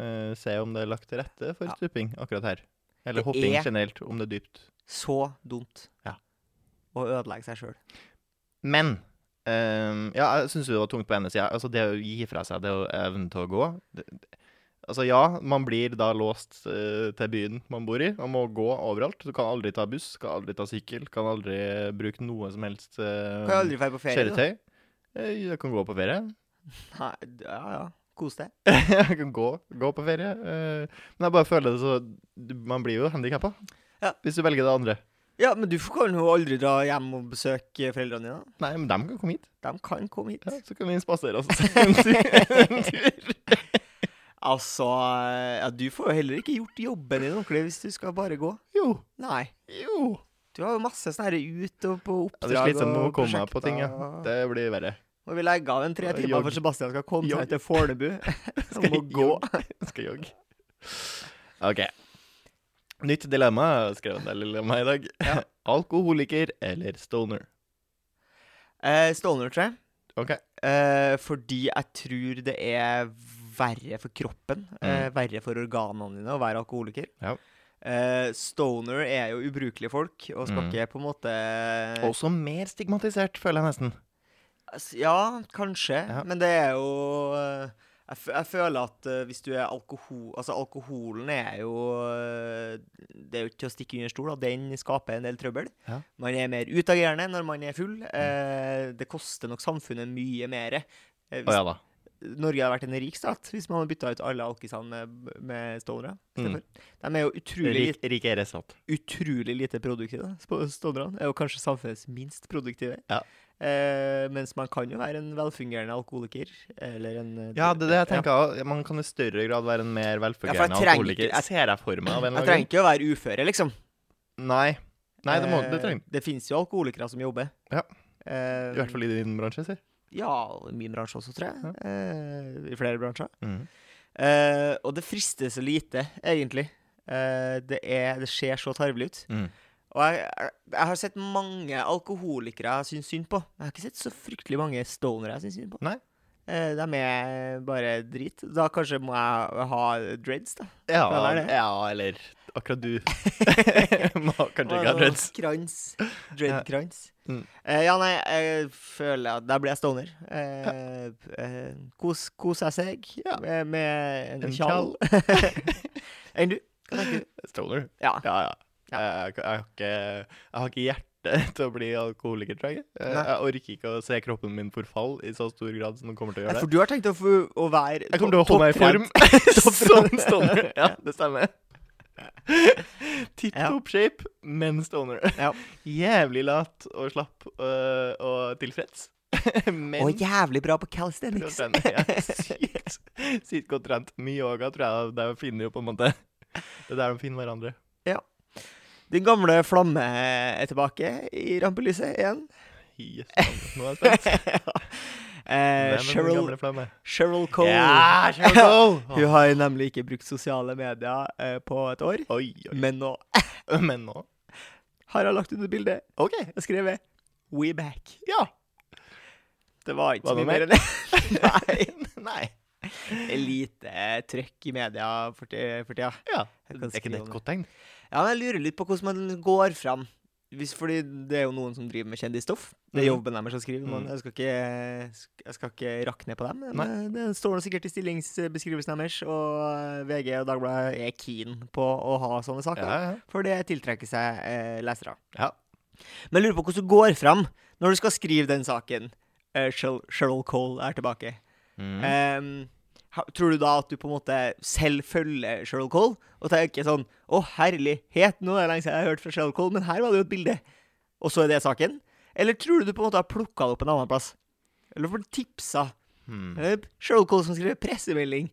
[SPEAKER 1] eh, se om det er lagt til rette for
[SPEAKER 2] Ja.
[SPEAKER 1] stuping akkurat her. Eller
[SPEAKER 2] Det
[SPEAKER 1] hopping
[SPEAKER 2] er-
[SPEAKER 1] generelt, om det er dypt.
[SPEAKER 2] Så dumt
[SPEAKER 1] Ja.
[SPEAKER 2] å ødelegge seg sjøl.
[SPEAKER 1] Men ehm, Ja, jeg syns det var tungt på ene sida. Altså, det å gi fra seg det å evne til å gå det, det- Altså, ja, man blir da låst eh, til byen man bor i, og må gå overalt. Du kan aldri ta buss, kan aldri ta sykkel, kan aldri bruke noe som helst eh,
[SPEAKER 2] Kan jo aldri dra på ferie. da.
[SPEAKER 1] kjøretøy. Eh, Jeg kan gå på ferie.
[SPEAKER 2] Nei, ja, ja. Kos deg.
[SPEAKER 1] jeg kan gå, gå på ferie. eh, men jeg bare føler det så du- Man blir jo handikappa
[SPEAKER 2] Ja.
[SPEAKER 1] hvis du velger det andre.
[SPEAKER 2] Ja, men du kan jo aldri dra hjem og besøke foreldrene dine.
[SPEAKER 1] Nei, men dem kan komme hit.
[SPEAKER 2] De kan komme hit.
[SPEAKER 1] Ja, så kan vi spasere oss en tur. En tur.
[SPEAKER 2] Altså, ja, du får jo heller ikke gjort jobben din ordentlig hvis du skal bare gå.
[SPEAKER 1] Jo.
[SPEAKER 2] Nei.
[SPEAKER 1] Jo.
[SPEAKER 2] Du har jo masse sånne her ut og på
[SPEAKER 1] Ja,
[SPEAKER 2] oppdrag
[SPEAKER 1] det er slitsomt å
[SPEAKER 2] og
[SPEAKER 1] komme meg på
[SPEAKER 2] prosjekter
[SPEAKER 1] ting, ja.
[SPEAKER 2] og-
[SPEAKER 1] Det blir verre.
[SPEAKER 2] Må vi legge av en tre
[SPEAKER 1] Og
[SPEAKER 2] timer for
[SPEAKER 1] jogg.
[SPEAKER 2] Sebastian skal komme
[SPEAKER 1] Jogg.
[SPEAKER 2] seg til Fornebu? Han må gå.
[SPEAKER 1] jogge. Skal jogge. OK. Nytt dilemma, jeg har skrevet en del dilemma i dag. Alkoholiker eller stoner?
[SPEAKER 2] Eh, Stoner, tror jeg.
[SPEAKER 1] OK.
[SPEAKER 2] Eh, fordi jeg tror det er verre for kroppen, eh, verre for organene dine å være alkoholiker.
[SPEAKER 1] Mm. Ja.
[SPEAKER 2] Eh, stoner er jo ubrukelige folk, og skal
[SPEAKER 1] Mm.
[SPEAKER 2] ikke på en måte
[SPEAKER 1] Også mer stigmatisert, føler jeg nesten.
[SPEAKER 2] Altså, Ja, kanskje.
[SPEAKER 1] Ja.
[SPEAKER 2] Men det er jo eh, jeg, fø- jeg føler at eh, hvis du er alkohol... Altså, alkoholen er jo eh, Det er jo ikke til å stikke under stol, og den skaper en del trøbbel.
[SPEAKER 1] Ja. Mm.
[SPEAKER 2] Man er mer utagerende når man er full. eh, det koster nok samfunnet mye mer.
[SPEAKER 1] Å
[SPEAKER 2] Eh, hvis
[SPEAKER 1] ja da.
[SPEAKER 2] Norge hadde vært en rik stat hvis man hadde bytta ut alle alkisene med, med stonere.
[SPEAKER 1] Mm.
[SPEAKER 2] istedenfor. De er jo utrolig,
[SPEAKER 1] Rik,
[SPEAKER 2] lit-
[SPEAKER 1] rik er resalt.
[SPEAKER 2] utrolig lite produktive. sp- Stonerne er jo kanskje samfunnets minst produktive.
[SPEAKER 1] Ja.
[SPEAKER 2] Eh, mens man kan jo være en velfungerende alkoholiker. Eller en eh,
[SPEAKER 1] Ja, det er det jeg
[SPEAKER 2] ja.
[SPEAKER 1] tenker. også. Man kan i større grad være en mer
[SPEAKER 2] Ja, for jeg
[SPEAKER 1] velfungerende
[SPEAKER 2] trenger
[SPEAKER 1] alkoholiker.
[SPEAKER 2] ikke- jeg-
[SPEAKER 1] Jeg ser deg for meg av en
[SPEAKER 2] Jeg
[SPEAKER 1] eller annen
[SPEAKER 2] trenger ikke å være uføre, liksom.
[SPEAKER 1] grunn. Nei. Nei, det, må, det
[SPEAKER 2] Eh,
[SPEAKER 1] trenger
[SPEAKER 2] Det fins jo alkoholikere som jobber.
[SPEAKER 1] Ja.
[SPEAKER 2] Eh,
[SPEAKER 1] I hvert fall i din bransje, si.
[SPEAKER 2] Ja, og i min bransje også, tror jeg. Eh, I flere bransjer.
[SPEAKER 1] Mm.
[SPEAKER 2] Eh, og det frister så lite, egentlig. Eh, det, er, det ser så tarvelig ut.
[SPEAKER 1] Mm.
[SPEAKER 2] Og jeg, jeg, jeg har sett mange alkoholikere jeg syns synd på. Jeg har ikke sett så fryktelig mange stonere jeg syns synd på.
[SPEAKER 1] Nei.
[SPEAKER 2] Eh, de er bare drit. Da kanskje må jeg ha dreads, da.
[SPEAKER 1] Ja,
[SPEAKER 2] Føler jeg det.
[SPEAKER 1] ja, eller akkurat du. Må Kanskje ikke ha
[SPEAKER 2] Og
[SPEAKER 1] dreads.
[SPEAKER 2] Krans. Dreadkrans.
[SPEAKER 1] Mm.
[SPEAKER 2] Eh, ja, nei, jeg føler at der blir jeg stoner. Eh, eh, kos, koser jeg seg
[SPEAKER 1] Ja.
[SPEAKER 2] med, med
[SPEAKER 1] En
[SPEAKER 2] en tjall. Enn du? Hva tenker du?
[SPEAKER 1] Stoner.
[SPEAKER 2] Ja.
[SPEAKER 1] Ja, ja. Eh,
[SPEAKER 2] Ja.
[SPEAKER 1] Jeg, jeg, har ikke, jeg har ikke hjerte til å bli alkoholiker, tror jeg. Jeg,
[SPEAKER 2] Nei.
[SPEAKER 1] jeg orker ikke å se kroppen min forfall i så stor grad som den kommer til å
[SPEAKER 2] Nei,
[SPEAKER 1] gjøre.
[SPEAKER 2] For du har tenkt å, få- å være
[SPEAKER 1] Jeg kommer til å holde meg i form som stoner. Ja, det stemmer. Tipp
[SPEAKER 2] Ja.
[SPEAKER 1] topp shape, men stoner.
[SPEAKER 2] Ja.
[SPEAKER 1] Jævlig lat og slapp øh, og tilfreds. men
[SPEAKER 2] Og jævlig bra på calisthenics.
[SPEAKER 1] prøvd den. Ja, sykt, sykt godt trent. Mye yoga, tror jeg. Det er jo finner jo på en måte Det er der de finner hverandre.
[SPEAKER 2] Din gamle flamme er tilbake i rampelyset igjen.
[SPEAKER 1] Yes, nå er jeg spent.
[SPEAKER 2] Eh,
[SPEAKER 1] Hvem er den
[SPEAKER 2] Cheryl,
[SPEAKER 1] gamle flamme?
[SPEAKER 2] Cheryl Cole.
[SPEAKER 1] Ja, Cheryl Cole!
[SPEAKER 2] Hun har nemlig ikke brukt sosiale medier eh, på et år,
[SPEAKER 1] Oi, oi.
[SPEAKER 2] men nå
[SPEAKER 1] Men nå
[SPEAKER 2] har hun lagt ut et bilde
[SPEAKER 1] OK.
[SPEAKER 2] og skrevet 'We back'.
[SPEAKER 1] Ja.
[SPEAKER 2] Det var ikke
[SPEAKER 1] Var
[SPEAKER 2] så
[SPEAKER 1] det
[SPEAKER 2] mye mer enn det. Nei.
[SPEAKER 1] Nei.
[SPEAKER 2] Det er Lite trøkk i media for ti- for tida.
[SPEAKER 1] Ja.
[SPEAKER 2] Jeg
[SPEAKER 1] Er
[SPEAKER 2] kan
[SPEAKER 1] ikke
[SPEAKER 2] skrive
[SPEAKER 1] det
[SPEAKER 2] om
[SPEAKER 1] et godt tegn?
[SPEAKER 2] Ja, men jeg lurer litt på hvordan man går fram. Hvis, fordi det er jo noen som driver med kjendisstoff. Det er
[SPEAKER 1] Mhm.
[SPEAKER 2] jobben deres å skrive. Man,
[SPEAKER 1] Mhm.
[SPEAKER 2] jeg, skal ikke, jeg skal ikke rakne på dem. Men eh, det står nå sikkert i stillingsbeskrivelsen deres. Og eh, VG og Dagbladet er keen på å ha sånne saker.
[SPEAKER 1] Ja, ja.
[SPEAKER 2] For det tiltrekker seg eh, lesere.
[SPEAKER 1] Ja.
[SPEAKER 2] Men jeg lurer på hvordan du går fram når du skal skrive den saken. Eh, Sher- Cheryl Cole er tilbake.
[SPEAKER 1] Mm.
[SPEAKER 2] Ehm, ha- tror du da at du på en måte selv følger Cheryl Cole og tenker sånn Å, herlighet, nå er det lenge siden jeg har hørt fra Cheryl Cole, men her var det jo et bilde. Og så er det saken. Eller tror du du på en måte har plukka det opp en annen plass? Eller får du tipsa?
[SPEAKER 1] Hmm.
[SPEAKER 2] Eh, Cheryl Cole som skriver pressemelding.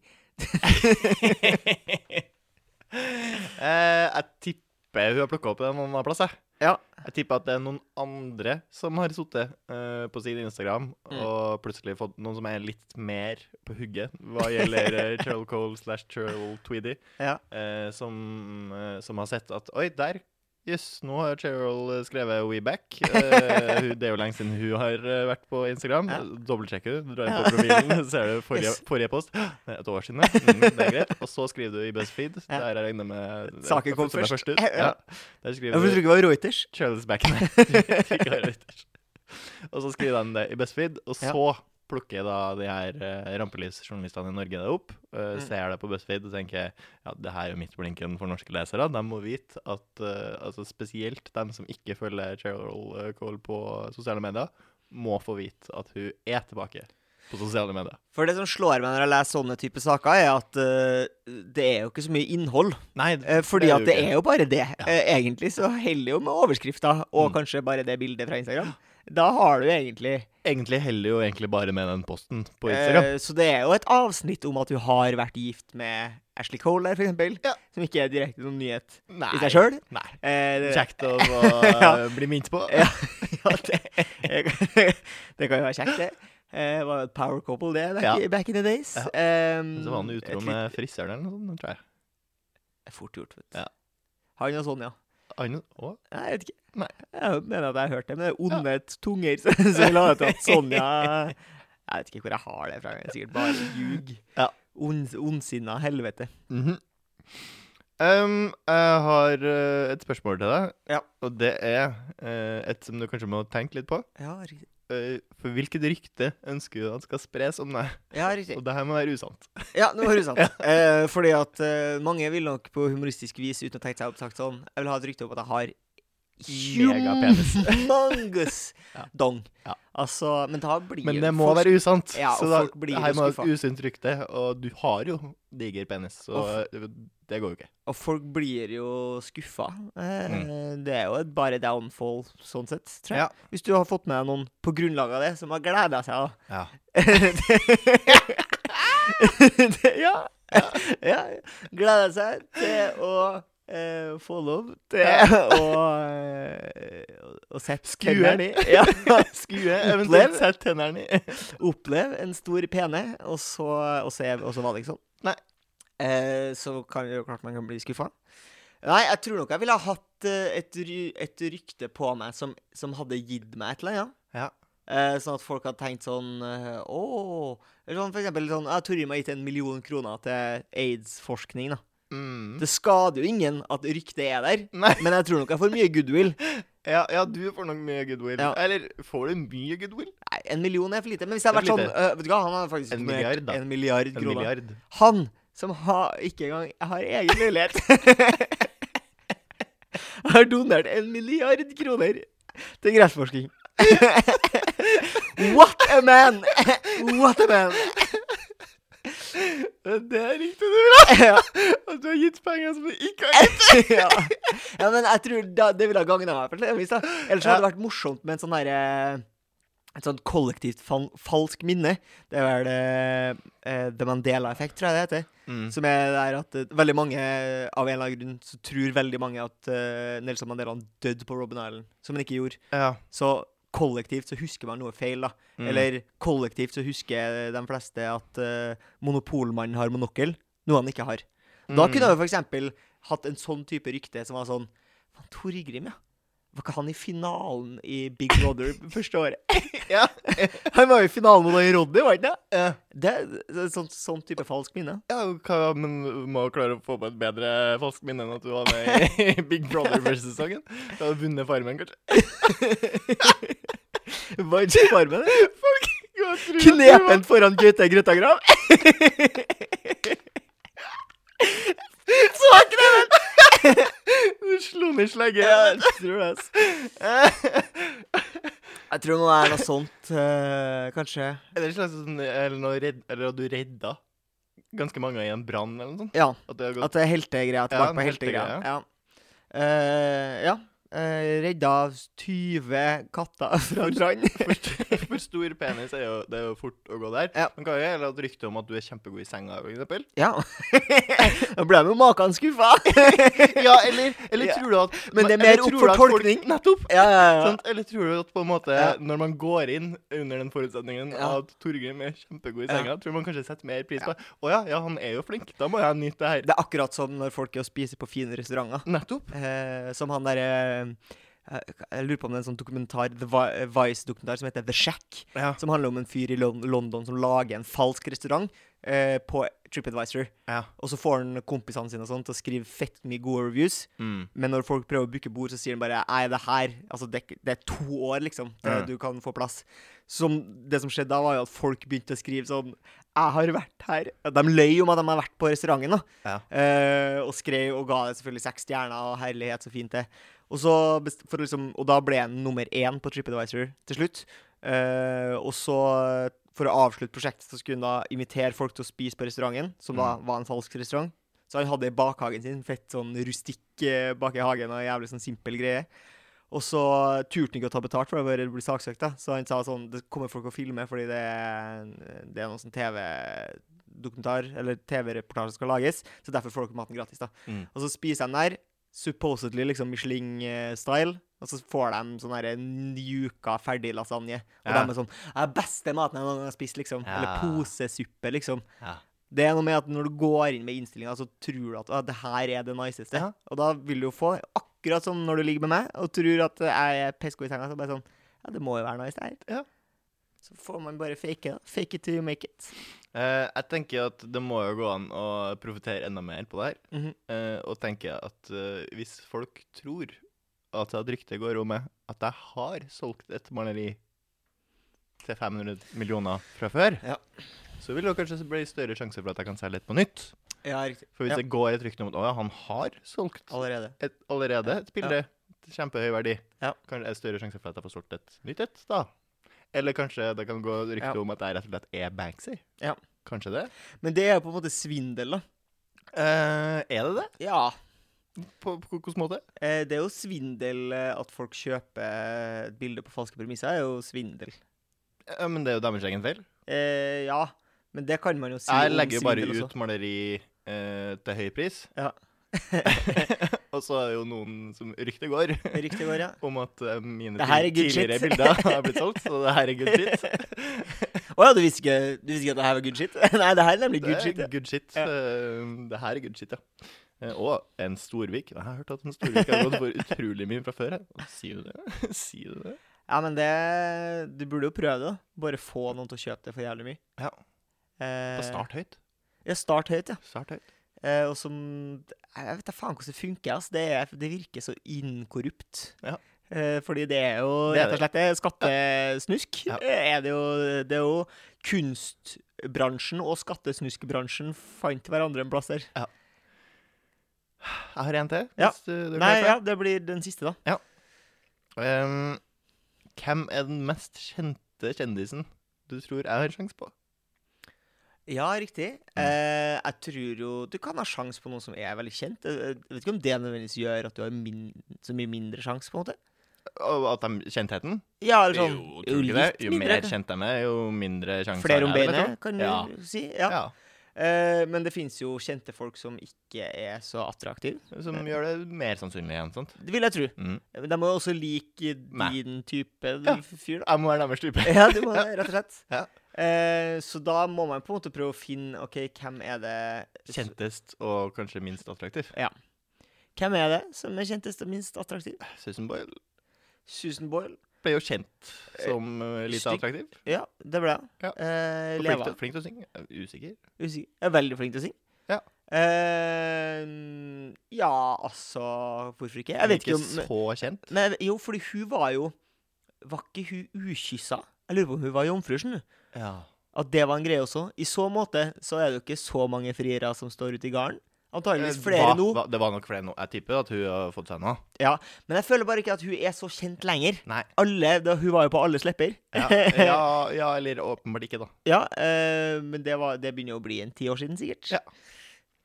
[SPEAKER 1] Eh, jeg tipper hun har plukka opp det noen annen plass. Jeg.
[SPEAKER 2] Ja.
[SPEAKER 1] jeg tipper at det er noen andre som har sittet eh, på sin Instagram
[SPEAKER 2] Mm.
[SPEAKER 1] og plutselig fått noen som er litt mer på hugget hva gjelder eh, Cheryl Cole slash Cheryl Tweedy,
[SPEAKER 2] Ja.
[SPEAKER 1] eh, som, eh, som har sett at Oi, der! Jøss, nå har Cheryl eh, skrevet We Back. Eh, hun, det er jo lenge siden hun har eh, vært på Instagram.
[SPEAKER 2] Ja.
[SPEAKER 1] Dobbeltsjekker du, drar inn på profilen, ser du forrige,
[SPEAKER 2] Yes.
[SPEAKER 1] forrige post. Det er et år siden, ja. Mm, det er greit. Og så skriver du i BuzzFeed.
[SPEAKER 2] Ja.
[SPEAKER 1] Der jeg regner med
[SPEAKER 2] Saken kom
[SPEAKER 1] som er
[SPEAKER 2] først.
[SPEAKER 1] ut.
[SPEAKER 2] Ja.
[SPEAKER 1] Ja. Der
[SPEAKER 2] Jeg tror
[SPEAKER 1] skriver du
[SPEAKER 2] ikke det var Reuters.
[SPEAKER 1] Charles Backen. og så skriver de det i BuzzFeed, og
[SPEAKER 2] Ja.
[SPEAKER 1] så plukker da de her eh, rampelysjournalistene i Norge det opp, eh,
[SPEAKER 2] Mm.
[SPEAKER 1] ser det på BuzzFeed og tenker ja, det her er jo midtblinken for norske lesere. De må vite at eh, altså spesielt dem som ikke følger Cheryl eh, Cole på sosiale medier, må få vite at hun er tilbake på sosiale medier.
[SPEAKER 2] For det som slår meg når jeg leser sånne type saker, er at eh, det er jo ikke så mye innhold.
[SPEAKER 1] Nei,
[SPEAKER 2] Eh, Fordi
[SPEAKER 1] er
[SPEAKER 2] at
[SPEAKER 1] jo
[SPEAKER 2] det
[SPEAKER 1] ikke.
[SPEAKER 2] er jo bare det. Eh, Egentlig så heller jo med overskrifta
[SPEAKER 1] Mm.
[SPEAKER 2] og kanskje bare det bildet fra Instagram. Da har du egentlig
[SPEAKER 1] Egentlig heller jo egentlig bare med den posten på Instagram.
[SPEAKER 2] eh, Så det er jo et avsnitt om at du har vært gift med Ashley Cole der, for eksempel.
[SPEAKER 1] Ja.
[SPEAKER 2] Som ikke er direkte noen nyhet
[SPEAKER 1] nei.
[SPEAKER 2] i seg sjøl.
[SPEAKER 1] Nei.
[SPEAKER 2] Eh,
[SPEAKER 1] Kjekt å få
[SPEAKER 2] Ja.
[SPEAKER 1] bli minnet på.
[SPEAKER 2] Ja. ja, det, det kan jo være kjekt, det. Eh, Det var jo et power couple, det, back,
[SPEAKER 1] Ja.
[SPEAKER 2] i, back in the days.
[SPEAKER 1] Ja.
[SPEAKER 2] Ehm,
[SPEAKER 1] Så var han
[SPEAKER 2] et
[SPEAKER 1] utro
[SPEAKER 2] litt-
[SPEAKER 1] med frisøren eller noe sånt, tror jeg.
[SPEAKER 2] Fort gjort, vet du.
[SPEAKER 1] Ja.
[SPEAKER 2] Han sånn, og Sonja.
[SPEAKER 1] Han, å,
[SPEAKER 2] Nei, Jeg vet ikke.
[SPEAKER 1] Nei.
[SPEAKER 2] Jeg mener at jeg har hørt det, men det er onde tunger som som vil ha det til at Sonja Jeg vet ikke hvor jeg har det fra. Det er sikkert bare ljug.
[SPEAKER 1] Ja.
[SPEAKER 2] Ond- Ondsinna helvete.
[SPEAKER 1] mhm. um, jeg har eh, et spørsmål til deg,
[SPEAKER 2] Ja.
[SPEAKER 1] og det er eh, et som du kanskje må tenke litt på.
[SPEAKER 2] Ja, riktig.
[SPEAKER 1] Eh, for hvilket rykte ønsker du at skal spres om deg?
[SPEAKER 2] Ja, riktig.
[SPEAKER 1] Og det her må være usant.
[SPEAKER 2] Ja, nå har du sant. Eh, fordi at eh, mange vil nok på humoristisk vis, uten å tenke seg opp, sagt sånn Jeg vil ha et rykte om at jeg har
[SPEAKER 1] Megapenis.
[SPEAKER 2] Humongous
[SPEAKER 1] Ja.
[SPEAKER 2] dong.
[SPEAKER 1] Ja.
[SPEAKER 2] Altså, men da blir
[SPEAKER 1] Men
[SPEAKER 2] jo
[SPEAKER 1] det må
[SPEAKER 2] folk-
[SPEAKER 1] være usant.
[SPEAKER 2] Ja,
[SPEAKER 1] så
[SPEAKER 2] og
[SPEAKER 1] da,
[SPEAKER 2] folk blir
[SPEAKER 1] her må
[SPEAKER 2] jo
[SPEAKER 1] det være
[SPEAKER 2] skuffa.
[SPEAKER 1] et usunt rykte. Og du har jo diger penis, så eh, det går jo ikke.
[SPEAKER 2] Og folk blir jo skuffa. Eh,
[SPEAKER 1] Mm.
[SPEAKER 2] Det er jo et bare downfall, sånn sett, tror jeg.
[SPEAKER 1] Ja.
[SPEAKER 2] Hvis du har fått med deg noen på grunnlag av det, som har gleda seg, da.
[SPEAKER 1] Ja.
[SPEAKER 2] det, ja. ja. Gleda seg til å eh, få lov til å, eh, å- å sette
[SPEAKER 1] Skue.
[SPEAKER 2] tennene i. Ja.
[SPEAKER 1] Skue,
[SPEAKER 2] Opplev.
[SPEAKER 1] eventuelt sett tennene i.
[SPEAKER 2] Oppleve en stor pene, og så, og så, er, og så var det ikke sånn.
[SPEAKER 1] Nei.
[SPEAKER 2] Eh, så kan det jo klart man kan bli skuffa. Nei, jeg tror nok jeg ville ha hatt eh, et, ry- et rykte på meg som, som hadde gitt meg et eller annet.
[SPEAKER 1] Ja.
[SPEAKER 2] Eh, sånn at folk hadde tenkt sånn eh, Åh Eller sånn for eksempel sånn ja, Torgrim har gitt en million kroner til aids-forskning, da.
[SPEAKER 1] Mm.
[SPEAKER 2] Det skader jo ingen at ryktet er der,
[SPEAKER 1] Nei.
[SPEAKER 2] men jeg tror nok jeg får mye goodwill.
[SPEAKER 1] Ja, ja, du får nok mye goodwill.
[SPEAKER 2] Ja.
[SPEAKER 1] Eller får du mye goodwill?
[SPEAKER 2] Nei, en million er for lite. Men hvis jeg
[SPEAKER 1] Det
[SPEAKER 2] hadde
[SPEAKER 1] er
[SPEAKER 2] vært
[SPEAKER 1] for
[SPEAKER 2] sånn eh, Vet du hva, han har faktisk
[SPEAKER 1] En
[SPEAKER 2] donert
[SPEAKER 1] milliard, da.
[SPEAKER 2] En milliard
[SPEAKER 1] En
[SPEAKER 2] kroner.
[SPEAKER 1] milliard.
[SPEAKER 2] Han som har, ikke engang har egen mulighet Har donert en milliard kroner til gressforsking. What a man! What a man!
[SPEAKER 1] Det er riktig, du vil ha!
[SPEAKER 2] ja.
[SPEAKER 1] At du har gitt penger som du ikke har gitt!
[SPEAKER 2] ja, Ja, men jeg tror da, det ville ha gagna meg. på et eller annet vis, da. Ellers så hadde det vært morsomt med en sånn herre et sånt kollektivt fal falsk minne. Det er vel eh, The Mandela-effekt, tror jeg det heter. Som er der at eh, veldig mange, eh, av en eller annen grunn, så tror veldig mange at eh, Nelson Mandela døde på Robben Island, som han ikke gjorde.
[SPEAKER 1] Ja.
[SPEAKER 2] Så kollektivt så husker man noe feil, da.
[SPEAKER 1] Mm.
[SPEAKER 2] Eller kollektivt så husker de fleste at eh, monopolmannen har monokkel, noe han ikke har. Da
[SPEAKER 1] Mm.
[SPEAKER 2] kunne vi f.eks. hatt en sånn type rykte som var sånn Faen, Torgrim, ja. Var ikke han i finalen i Big Brother første året?
[SPEAKER 1] Ja.
[SPEAKER 2] Han var jo i finalen mot han Roddy, var han ikke det? Det er det er sånn, sånn type falsk minne.
[SPEAKER 1] Ja, hva- men du må klare å få på et bedre falskt minne enn at du var med i Big Brother versus-sesongen. Du hadde vunnet Farmen, kanskje.
[SPEAKER 2] Var ikke farmen det?
[SPEAKER 1] Folk kunne tro at du var-
[SPEAKER 2] Knepen foran Gaute Grøtta Grav. Så knepen!
[SPEAKER 1] Du slo ned slegge.
[SPEAKER 2] Ja, jeg tror det. ass. Jeg tror noe er noe sånt, eh, kanskje.
[SPEAKER 1] Eller, slags, sånn- eller, noe redd, eller at du redda ganske mange i en brann, eller noe sånt.
[SPEAKER 2] Ja.
[SPEAKER 1] At det har gått
[SPEAKER 2] At det er heltegreia.
[SPEAKER 1] Ja,
[SPEAKER 2] Tilbake
[SPEAKER 1] en
[SPEAKER 2] på heltegreia.
[SPEAKER 1] heltegreie,
[SPEAKER 2] Ja. Eh, ja. Eh, redda 20 katter fra brann.
[SPEAKER 1] for, st- for stor penis er jo, det er jo fort å gå der.
[SPEAKER 2] Ja.
[SPEAKER 1] Men hva er det at ryktet om at du er kjempegod i senga, for eksempel?
[SPEAKER 2] Ja. Da ble jo maken skuffa.
[SPEAKER 1] Ja, eller, eller
[SPEAKER 2] Ja.
[SPEAKER 1] tror du at
[SPEAKER 2] Men det er
[SPEAKER 1] eller
[SPEAKER 2] mer opp
[SPEAKER 1] tror
[SPEAKER 2] for
[SPEAKER 1] du at folk-
[SPEAKER 2] tolkning.
[SPEAKER 1] Nettopp!
[SPEAKER 2] Ja, ja, ja.
[SPEAKER 1] Sant? Sånn, Eller tror du at på en måte
[SPEAKER 2] Ja.
[SPEAKER 1] når man går inn under den forutsetningen
[SPEAKER 2] Ja.
[SPEAKER 1] at Torgrim er kjempegod i
[SPEAKER 2] Ja.
[SPEAKER 1] senga, tror man kanskje setter mer pris på Å ja, ja, han er jo flink. Da må jeg nyte det her.
[SPEAKER 2] Det er akkurat som når folk er og spiser på fine restauranter.
[SPEAKER 1] Nettopp.
[SPEAKER 2] Eh, som han derre Jeg lurer på om det er en sånn dokumentar, The Vi- eh, Vice-dokumentar, som heter The Shack.
[SPEAKER 1] Ja.
[SPEAKER 2] Som handler om en fyr i Lon- London som lager en falsk restaurant eh, på TripAdvisor.
[SPEAKER 1] ja.
[SPEAKER 2] Og så får han kompisene sine og sånn til å skrive fett mye gode reviews.
[SPEAKER 1] Mm.
[SPEAKER 2] Men når folk prøver å booke bord, så sier de bare Nei, det her Altså, det, er ikke- det er to år, liksom, til
[SPEAKER 1] Ja.
[SPEAKER 2] du kan få plass. Som Det som skjedde da, var jo at folk begynte å skrive sånn Jeg har vært her. De løy om at de har vært på restauranten, da.
[SPEAKER 1] Ja.
[SPEAKER 2] Eh, og skrev og ga det selvfølgelig seks stjerner, og herlighet, så fint det. Og, så best- for å liksom, og da ble han nummer én på TripAdvisor til slutt. Eh, og så, for å avslutte prosjektet, så skulle han da invitere folk til å spise på restauranten, som da
[SPEAKER 1] Mm.
[SPEAKER 2] var en falsk restaurant. Så han hadde i bakhagen sin, fett sånn rustikk eh, bak i hagen og jævlig sånn simpel greie. Og så turte han ikke å ta betalt for det, bare bli saksøkt. da. Så han sa sånn Det kommer folk og filmer fordi det er, det er noen sånn TV-dokumentar eller TV-reportasje som skal lages, så derfor får dere maten gratis, da.
[SPEAKER 1] Mm.
[SPEAKER 2] Og så spiser de der, supposedly liksom Michelin-style, og så får de sånn her njuka ferdig lasagne. Og
[SPEAKER 1] Ja.
[SPEAKER 2] de er sånn «Ja, 'Beste maten jeg noen gang har spist', liksom. Eller
[SPEAKER 1] Ja.
[SPEAKER 2] posesuppe, liksom.
[SPEAKER 1] Ja.
[SPEAKER 2] Det er noe med at når du går inn med innstillinga, så tror du at «Å, det her er det niceste.
[SPEAKER 1] Ja.
[SPEAKER 2] Og da vil du jo få, akkurat som når du ligger med meg og tror at jeg er pesko i senga, så bare sånn Ja, det må jo være nice, det her.
[SPEAKER 1] Ja.
[SPEAKER 2] Så får man bare fake det. Fake it till you make it.
[SPEAKER 1] Eh, jeg tenker at det må jo gå an å profitere enda mer på det her.
[SPEAKER 2] Mhm.
[SPEAKER 1] Eh, og tenker at eh, hvis folk tror at et rykte går om meg at jeg har solgt et maleri til 500 millioner fra før,
[SPEAKER 2] Ja.
[SPEAKER 1] så vil det kanskje bli større sjanse for at jeg kan selge et på nytt.
[SPEAKER 2] Ja, riktig.
[SPEAKER 1] For hvis
[SPEAKER 2] Ja.
[SPEAKER 1] det går et rykte om at å ja, han har solgt
[SPEAKER 2] Allerede.
[SPEAKER 1] et, allerede et bilde til kjempehøy verdi,
[SPEAKER 2] Ja.
[SPEAKER 1] kan det være større sjanse for at jeg får solgt et nytt et, da. Eller kanskje det kan gå rykte
[SPEAKER 2] Ja.
[SPEAKER 1] om at jeg rett og slett er Banksy.
[SPEAKER 2] Ja.
[SPEAKER 1] Kanskje det?
[SPEAKER 2] Men det er jo på en måte svindel, da.
[SPEAKER 1] Eh, er det det?
[SPEAKER 2] Ja.
[SPEAKER 1] På, på hvilken måte?
[SPEAKER 2] Eh, Det er jo svindel eh, at folk kjøper et bilde på falske premisser. er jo svindel.
[SPEAKER 1] Ja, men det er jo deres egen feil.
[SPEAKER 2] Eh, ja. Men det kan man jo si
[SPEAKER 1] Jeg
[SPEAKER 2] om
[SPEAKER 1] legger jo bare
[SPEAKER 2] svindel også.
[SPEAKER 1] ut maleri eh, til høy pris.
[SPEAKER 2] Ja.
[SPEAKER 1] og så er det jo noen som ryktet går
[SPEAKER 2] Riktig går, ja.
[SPEAKER 1] om at eh, mine
[SPEAKER 2] Det her er good shit.
[SPEAKER 1] tidligere bilder har blitt solgt, så det her er good shit.
[SPEAKER 2] Å ja, du visste ikke, du visste ikke at det her var good shit? Nei, det her er nemlig
[SPEAKER 1] Det
[SPEAKER 2] good shit.
[SPEAKER 1] er
[SPEAKER 2] ja.
[SPEAKER 1] good shit.
[SPEAKER 2] Ja.
[SPEAKER 1] Eh, Det her er good shit, ja. Eh, Og en storvik. Jeg har hørt at en storvik har gått for utrolig mye fra før. her. Sier du det? Sier du det?
[SPEAKER 2] Ja, men det Du burde jo prøve det. da. Bare få noen til å kjøpe det for jævlig mye.
[SPEAKER 1] Ja.
[SPEAKER 2] Eh,
[SPEAKER 1] Bare start høyt.
[SPEAKER 2] Ja, start høyt, ja.
[SPEAKER 1] Start høyt.
[SPEAKER 2] Eh, og som Jeg vet da faen hvordan det funker. ass. Det, er, det virker så inkorrupt.
[SPEAKER 1] Ja.
[SPEAKER 2] Eh, fordi det er jo
[SPEAKER 1] Det er
[SPEAKER 2] rett og slett det er skattesnusk.
[SPEAKER 1] Ja.
[SPEAKER 2] Eh, Er det, jo, det er jo kunstbransjen og skattesnuskbransjen fant hverandre en plass der.
[SPEAKER 1] Jeg har en til.
[SPEAKER 2] Ja.
[SPEAKER 1] hvis du- du er
[SPEAKER 2] Nei,
[SPEAKER 1] klar for
[SPEAKER 2] ja, det blir den siste, da.
[SPEAKER 1] det. Em, hvem er den mest kjente kjendisen du tror jeg har sjanse på?
[SPEAKER 2] Ja, riktig. Eh, jeg tror jo Du kan ha sjanse på noen som er veldig kjent. Jeg jeg vet ikke om det nødvendigvis gjør at du har min, så mye mindre sjanse, på en måte.
[SPEAKER 1] Og at de kjendtheten?
[SPEAKER 2] Ja, eller sånn
[SPEAKER 1] jo, tror du ikke det? jo mer kjent de er, jo mindre sjanse
[SPEAKER 2] Flere om
[SPEAKER 1] er det, vet
[SPEAKER 2] beinet, kan du
[SPEAKER 1] Ja.
[SPEAKER 2] si.
[SPEAKER 1] du.
[SPEAKER 2] Ja.
[SPEAKER 1] Ja.
[SPEAKER 2] Eh, men det finnes jo kjente folk som ikke er så attraktive.
[SPEAKER 1] Som gjør det mer sannsynlig igjen, sant?
[SPEAKER 2] Det vil jeg tro.
[SPEAKER 1] Mm.
[SPEAKER 2] Men De må jo også like
[SPEAKER 1] Meg.
[SPEAKER 2] din type
[SPEAKER 1] Ja.
[SPEAKER 2] f- fyr, da.
[SPEAKER 1] Jeg må være deres type.
[SPEAKER 2] Ja, du må det, rett og slett.
[SPEAKER 1] Ja.
[SPEAKER 2] Eh, så da må man på en måte prøve å finne OK, hvem er det
[SPEAKER 1] Kjentest og kanskje minst attraktiv.
[SPEAKER 2] Hvem er det som er kjentest og minst attraktiv?
[SPEAKER 1] Susan Boyle
[SPEAKER 2] Susan Boyle.
[SPEAKER 1] ble jo kjent som eh, lite
[SPEAKER 2] Stygg.
[SPEAKER 1] attraktiv.
[SPEAKER 2] Ja, det ble hun.
[SPEAKER 1] Ja.
[SPEAKER 2] Eh,
[SPEAKER 1] Og Flink
[SPEAKER 2] Leva.
[SPEAKER 1] til, flink til å synge. Jeg er Usikker.
[SPEAKER 2] Usikker. Jeg er veldig flink til å synge.
[SPEAKER 1] Ja.
[SPEAKER 2] Eh, ja, altså Hvorfor ikke? Jeg vet ikke om
[SPEAKER 1] så kjent.
[SPEAKER 2] Men jo, fordi hun var jo Var ikke hun ukyssa? Jeg lurer på om hun var jomfru, skjønner du.
[SPEAKER 1] Ja.
[SPEAKER 2] At det var en greie også. I så måte så er det jo ikke så mange friere som står ute i garden. Antageligvis flere
[SPEAKER 1] Eh, Hva-
[SPEAKER 2] nå.
[SPEAKER 1] hva- det var nok flere nå. Jeg tipper at hun har fått seg noe.
[SPEAKER 2] Ja, Men jeg føler bare ikke at hun er så kjent lenger.
[SPEAKER 1] Nei.
[SPEAKER 2] Alle, da, Hun var jo på alles lepper.
[SPEAKER 1] Ja, ja, ja, eller åpenbart ikke, da.
[SPEAKER 2] Ja, eh, men det, var, det begynner jo å bli en ti år siden, sikkert.
[SPEAKER 1] Ja.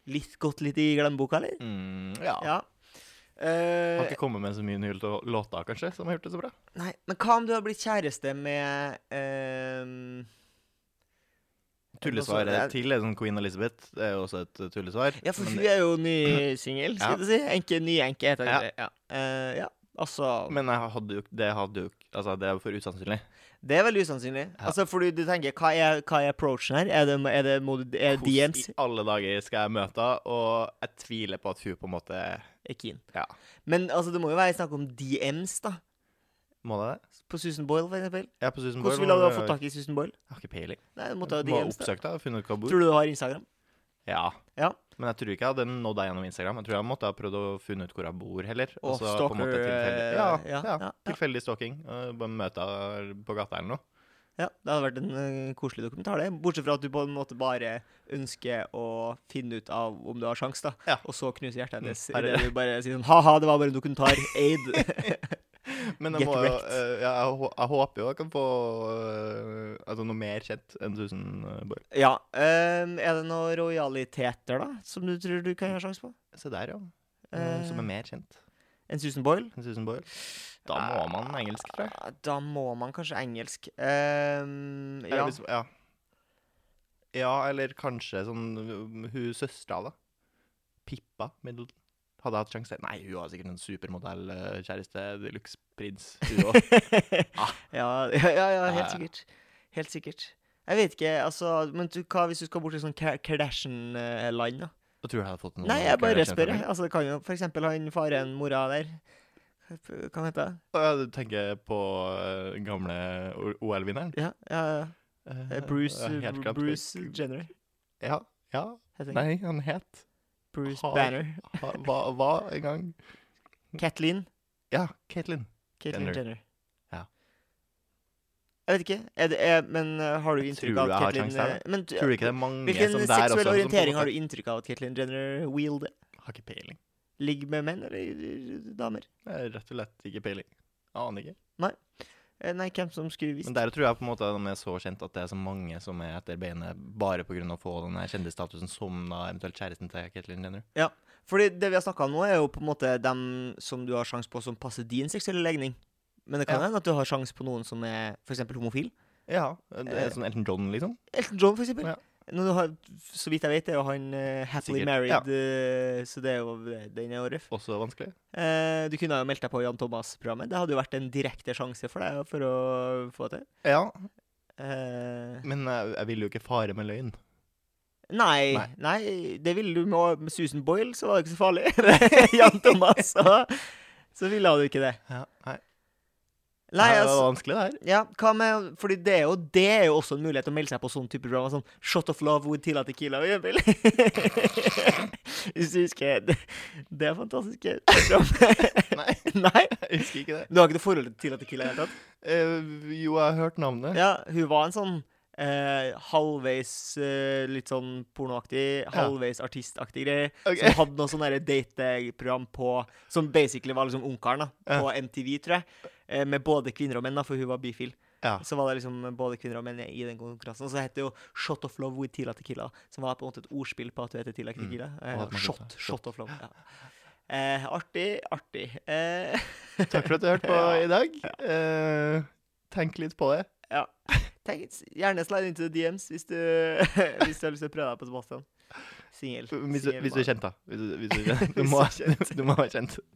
[SPEAKER 2] Litt gått litt i glemmeboka, eller?
[SPEAKER 1] Mm, ja.
[SPEAKER 2] Ja. Eh,
[SPEAKER 1] Har ikke kommet med så mye nye lå- låter, kanskje, som har gjort det så bra.
[SPEAKER 2] Nei, men hva om du har blitt kjæreste med eh,
[SPEAKER 1] Tullesvaret til er sånn Queen Elizabeth. Det er jo også et eh, tullesvar.
[SPEAKER 2] Ja, for
[SPEAKER 1] men
[SPEAKER 2] hun
[SPEAKER 1] det-
[SPEAKER 2] er jo ny singel, skal
[SPEAKER 1] Ja.
[SPEAKER 2] jeg si. Enke, ny enke, heter
[SPEAKER 1] Ja.
[SPEAKER 2] det. Ja. Eh, ja. Altså,
[SPEAKER 1] men jeg hadde jo, det hadde jo Altså, det er jo for usannsynlig.
[SPEAKER 2] det er veldig usannsynlig.
[SPEAKER 1] Ja.
[SPEAKER 2] Altså, fordi du tenker, hva er, hva er approachen her? Er det, er det, må du- er det
[SPEAKER 1] Hvordan
[SPEAKER 2] DMs?
[SPEAKER 1] i alle dager skal jeg møte henne? Og jeg tviler på at hun på en måte
[SPEAKER 2] Er keen.
[SPEAKER 1] Ja.
[SPEAKER 2] Men altså, det må jo være snakk om DMs, da.
[SPEAKER 1] Må det det?
[SPEAKER 2] På Susan Boyle, for eksempel.
[SPEAKER 1] Ja, på Susan
[SPEAKER 2] Hvordan
[SPEAKER 1] Boyle,
[SPEAKER 2] ville du ha
[SPEAKER 1] må-
[SPEAKER 2] fått tak i Susan Boyle?
[SPEAKER 1] Jeg har ikke peiling.
[SPEAKER 2] Nei, du måtte ha
[SPEAKER 1] Må ha
[SPEAKER 2] DMs, da.
[SPEAKER 1] oppsøkt henne, funnet ut hvor hun bor.
[SPEAKER 2] Tror du du har Instagram?
[SPEAKER 1] Ja.
[SPEAKER 2] Ja.
[SPEAKER 1] Men jeg tror ikke jeg hadde nådd deg gjennom Instagram. Jeg tror jeg måtte ha prøvd å funne ut hvor jeg bor, heller.
[SPEAKER 2] Og
[SPEAKER 1] Og så på en
[SPEAKER 2] stalker,
[SPEAKER 1] måte tilfeldig. Ja, ja,
[SPEAKER 2] eh, ja, ja, ja.
[SPEAKER 1] Tilfeldig stalking. eh, Bare møte henne på gata eller noe.
[SPEAKER 2] Ja, det hadde vært en eh, koselig dokumentar, det. Bortsett fra at du på en måte bare ønsker å finne ut av om du har sjans, da.
[SPEAKER 1] Ja.
[SPEAKER 2] Og så knuser hjertet hennes
[SPEAKER 1] Mm, her er
[SPEAKER 2] idet du bare sier sånn ha-ha, det var bare en dokumentar. Aid.
[SPEAKER 1] Men
[SPEAKER 2] Get
[SPEAKER 1] jeg, må, jo,
[SPEAKER 2] wrecked.
[SPEAKER 1] eh, ja, jeg, hå- jeg håper jo jeg kan få eh, altså noe mer kjent enn 1000 eh, boy.
[SPEAKER 2] ja. ehm, er det noen rojaliteter, da, som du tror du kan ha sjans på?
[SPEAKER 1] Se der, ja. Noen som er
[SPEAKER 2] Eh.
[SPEAKER 1] mer kjent
[SPEAKER 2] En Susan Boyle?
[SPEAKER 1] enn 1000 boy. Eh. Da må man engelsk, tror jeg.
[SPEAKER 2] Ah, Da må man kanskje engelsk. Ehm,
[SPEAKER 1] Eller
[SPEAKER 2] ja.
[SPEAKER 1] hvis- liksom, ja. ja, eller kanskje sånn uh, hun søstera, da. Pippa Middleton. Hadde jeg hatt sjanse Nei, hun har sikkert en supermodellkjæreste. Deluxe-prins, hun òg. Ah.
[SPEAKER 2] ja, ja, ja, ja,
[SPEAKER 1] Ja, ja.
[SPEAKER 2] helt sikkert. Helt sikkert. Jeg vet ikke, altså Men du, hva hvis du skal bort til sånn Ka- Kardashian-land, da?
[SPEAKER 1] Da tror jeg jeg hadde fått noen
[SPEAKER 2] Nei, jeg bare spør. jeg.
[SPEAKER 1] Kardashian-familie.
[SPEAKER 2] Altså, det kan jo for eksempel han faren, mora der Hva heter det?
[SPEAKER 1] Å, ja, du tenker på uh, gamle O- OL-vinneren?
[SPEAKER 2] Ja, ja, ja.
[SPEAKER 1] Eh,
[SPEAKER 2] Eh, Bruce,
[SPEAKER 1] jeg har helt glemt
[SPEAKER 2] Bruce
[SPEAKER 1] det.
[SPEAKER 2] Jenner.
[SPEAKER 1] Ja. ja.
[SPEAKER 2] heter han.
[SPEAKER 1] Nei, han het
[SPEAKER 2] Bruce
[SPEAKER 1] har-
[SPEAKER 2] Banner.
[SPEAKER 1] ha, hva, hva en gang
[SPEAKER 2] Kathleen.
[SPEAKER 1] Ja, Caitlyn.
[SPEAKER 2] Caitlyn
[SPEAKER 1] Jenner.
[SPEAKER 2] Jenner.
[SPEAKER 1] Ja.
[SPEAKER 2] Jeg vet ikke, er det, er, men uh, har du
[SPEAKER 1] Jeg
[SPEAKER 2] inntrykk
[SPEAKER 1] tror
[SPEAKER 2] av
[SPEAKER 1] jeg
[SPEAKER 2] at
[SPEAKER 1] har
[SPEAKER 2] Caitlyn
[SPEAKER 1] sjans der, da.
[SPEAKER 2] eh, men du-
[SPEAKER 1] Tror du ikke det er mange
[SPEAKER 2] Hvilken
[SPEAKER 1] som der også
[SPEAKER 2] seksuell
[SPEAKER 1] som på en
[SPEAKER 2] orientering
[SPEAKER 1] måte-
[SPEAKER 2] har du inntrykk av at Caitlyn Jenner wielder?
[SPEAKER 1] Har ikke peiling.
[SPEAKER 2] Ligger med menn eller eh, damer?
[SPEAKER 1] Det er Rett og slett ikke peiling. Aner ikke.
[SPEAKER 2] Eh, Nei, hvem som skulle visst.
[SPEAKER 1] Men der tror jeg på en måte at de er så kjent at det er så mange som er etter beinet bare pga. å få den her kjendisstatusen som da eventuelt kjæresten til Caitlyn Jenner.
[SPEAKER 2] Fordi det vi har snakka om nå, er jo på en måte dem som du har sjanse på som passer din seksuelle legning. Men det kan
[SPEAKER 1] Ja.
[SPEAKER 2] hende at du har sjanse på noen som er f.eks. homofil.
[SPEAKER 1] Ja. Det er sånn Elton John, liksom.
[SPEAKER 2] Elton John, f.eks.
[SPEAKER 1] Ja.
[SPEAKER 2] Ja. Nå har, så vidt jeg vet, er jo han eh, happily
[SPEAKER 1] Sikkert,
[SPEAKER 2] married,
[SPEAKER 1] ja.
[SPEAKER 2] eh, så det er jo, den er jo røff.
[SPEAKER 1] Også vanskelig.
[SPEAKER 2] Eh, du kunne ha jo meldt deg på Jan Thomas-programmet. Det hadde jo vært en direkte sjanse for deg for å få til.
[SPEAKER 1] Ja,
[SPEAKER 2] Eh,
[SPEAKER 1] eh, men jeg, jeg vil jo ikke fare med løgn.
[SPEAKER 2] Nei,
[SPEAKER 1] Nei.
[SPEAKER 2] nei, det ville du med, med Susan Boyle, så var det ikke så farlig. Jan Thomas, så, så ville hun ikke det.
[SPEAKER 1] Ja, nei.
[SPEAKER 2] Nei,
[SPEAKER 1] det
[SPEAKER 2] altså,
[SPEAKER 1] var vanskelig, det her.
[SPEAKER 2] ja, hva med, fordi det er, jo, det er jo også en mulighet å melde seg på sånn type program. Sånn Shot of Love with Tila Tequila og Jøbil. Hvis du husker Det, det er fantastisk. program.
[SPEAKER 1] Nei,
[SPEAKER 2] Nei?
[SPEAKER 1] jeg husker ikke det.
[SPEAKER 2] Du har ikke noe forhold til Tila Tequila i det hele tatt?
[SPEAKER 1] Eh, jo, jeg har hørt navnet.
[SPEAKER 2] Ja, hun var en sånn eh, halvveis eh, litt sånn pornoaktig, halvveis artistaktig greie.
[SPEAKER 1] Ok.
[SPEAKER 2] Som hadde noe sånn derre dateprogram på Som basically var liksom Ungkaren, da. På MTV, tror jeg. Eh, med både kvinner og menn, da, for hun var bifil.
[SPEAKER 1] Ja.
[SPEAKER 2] Så var det liksom både kvinner og menn i den konkurransen. Og så het det jo Shot of Love with Tila Tequila, som var på en måte et ordspill på at hun heter Tila Tequila.
[SPEAKER 1] Og
[SPEAKER 2] Eh,
[SPEAKER 1] Mm. at man kan
[SPEAKER 2] shot,
[SPEAKER 1] ta-
[SPEAKER 2] shot of Love. Ja. Eh, artig, artig. Eh,
[SPEAKER 1] Takk for at du hørte på
[SPEAKER 2] Ja.
[SPEAKER 1] i dag. Eh, tenk litt på det.
[SPEAKER 2] Ja. Tenk, gjerne slide into the DMs hvis du, hvis du har lyst til å prøve deg på Sebastian. Singel.
[SPEAKER 1] Hvis, du-
[SPEAKER 2] Singel
[SPEAKER 1] hvis du er
[SPEAKER 2] mann.
[SPEAKER 1] kjent, da. Hvis du, hvis du, er kjent. du, må, du må være kjent.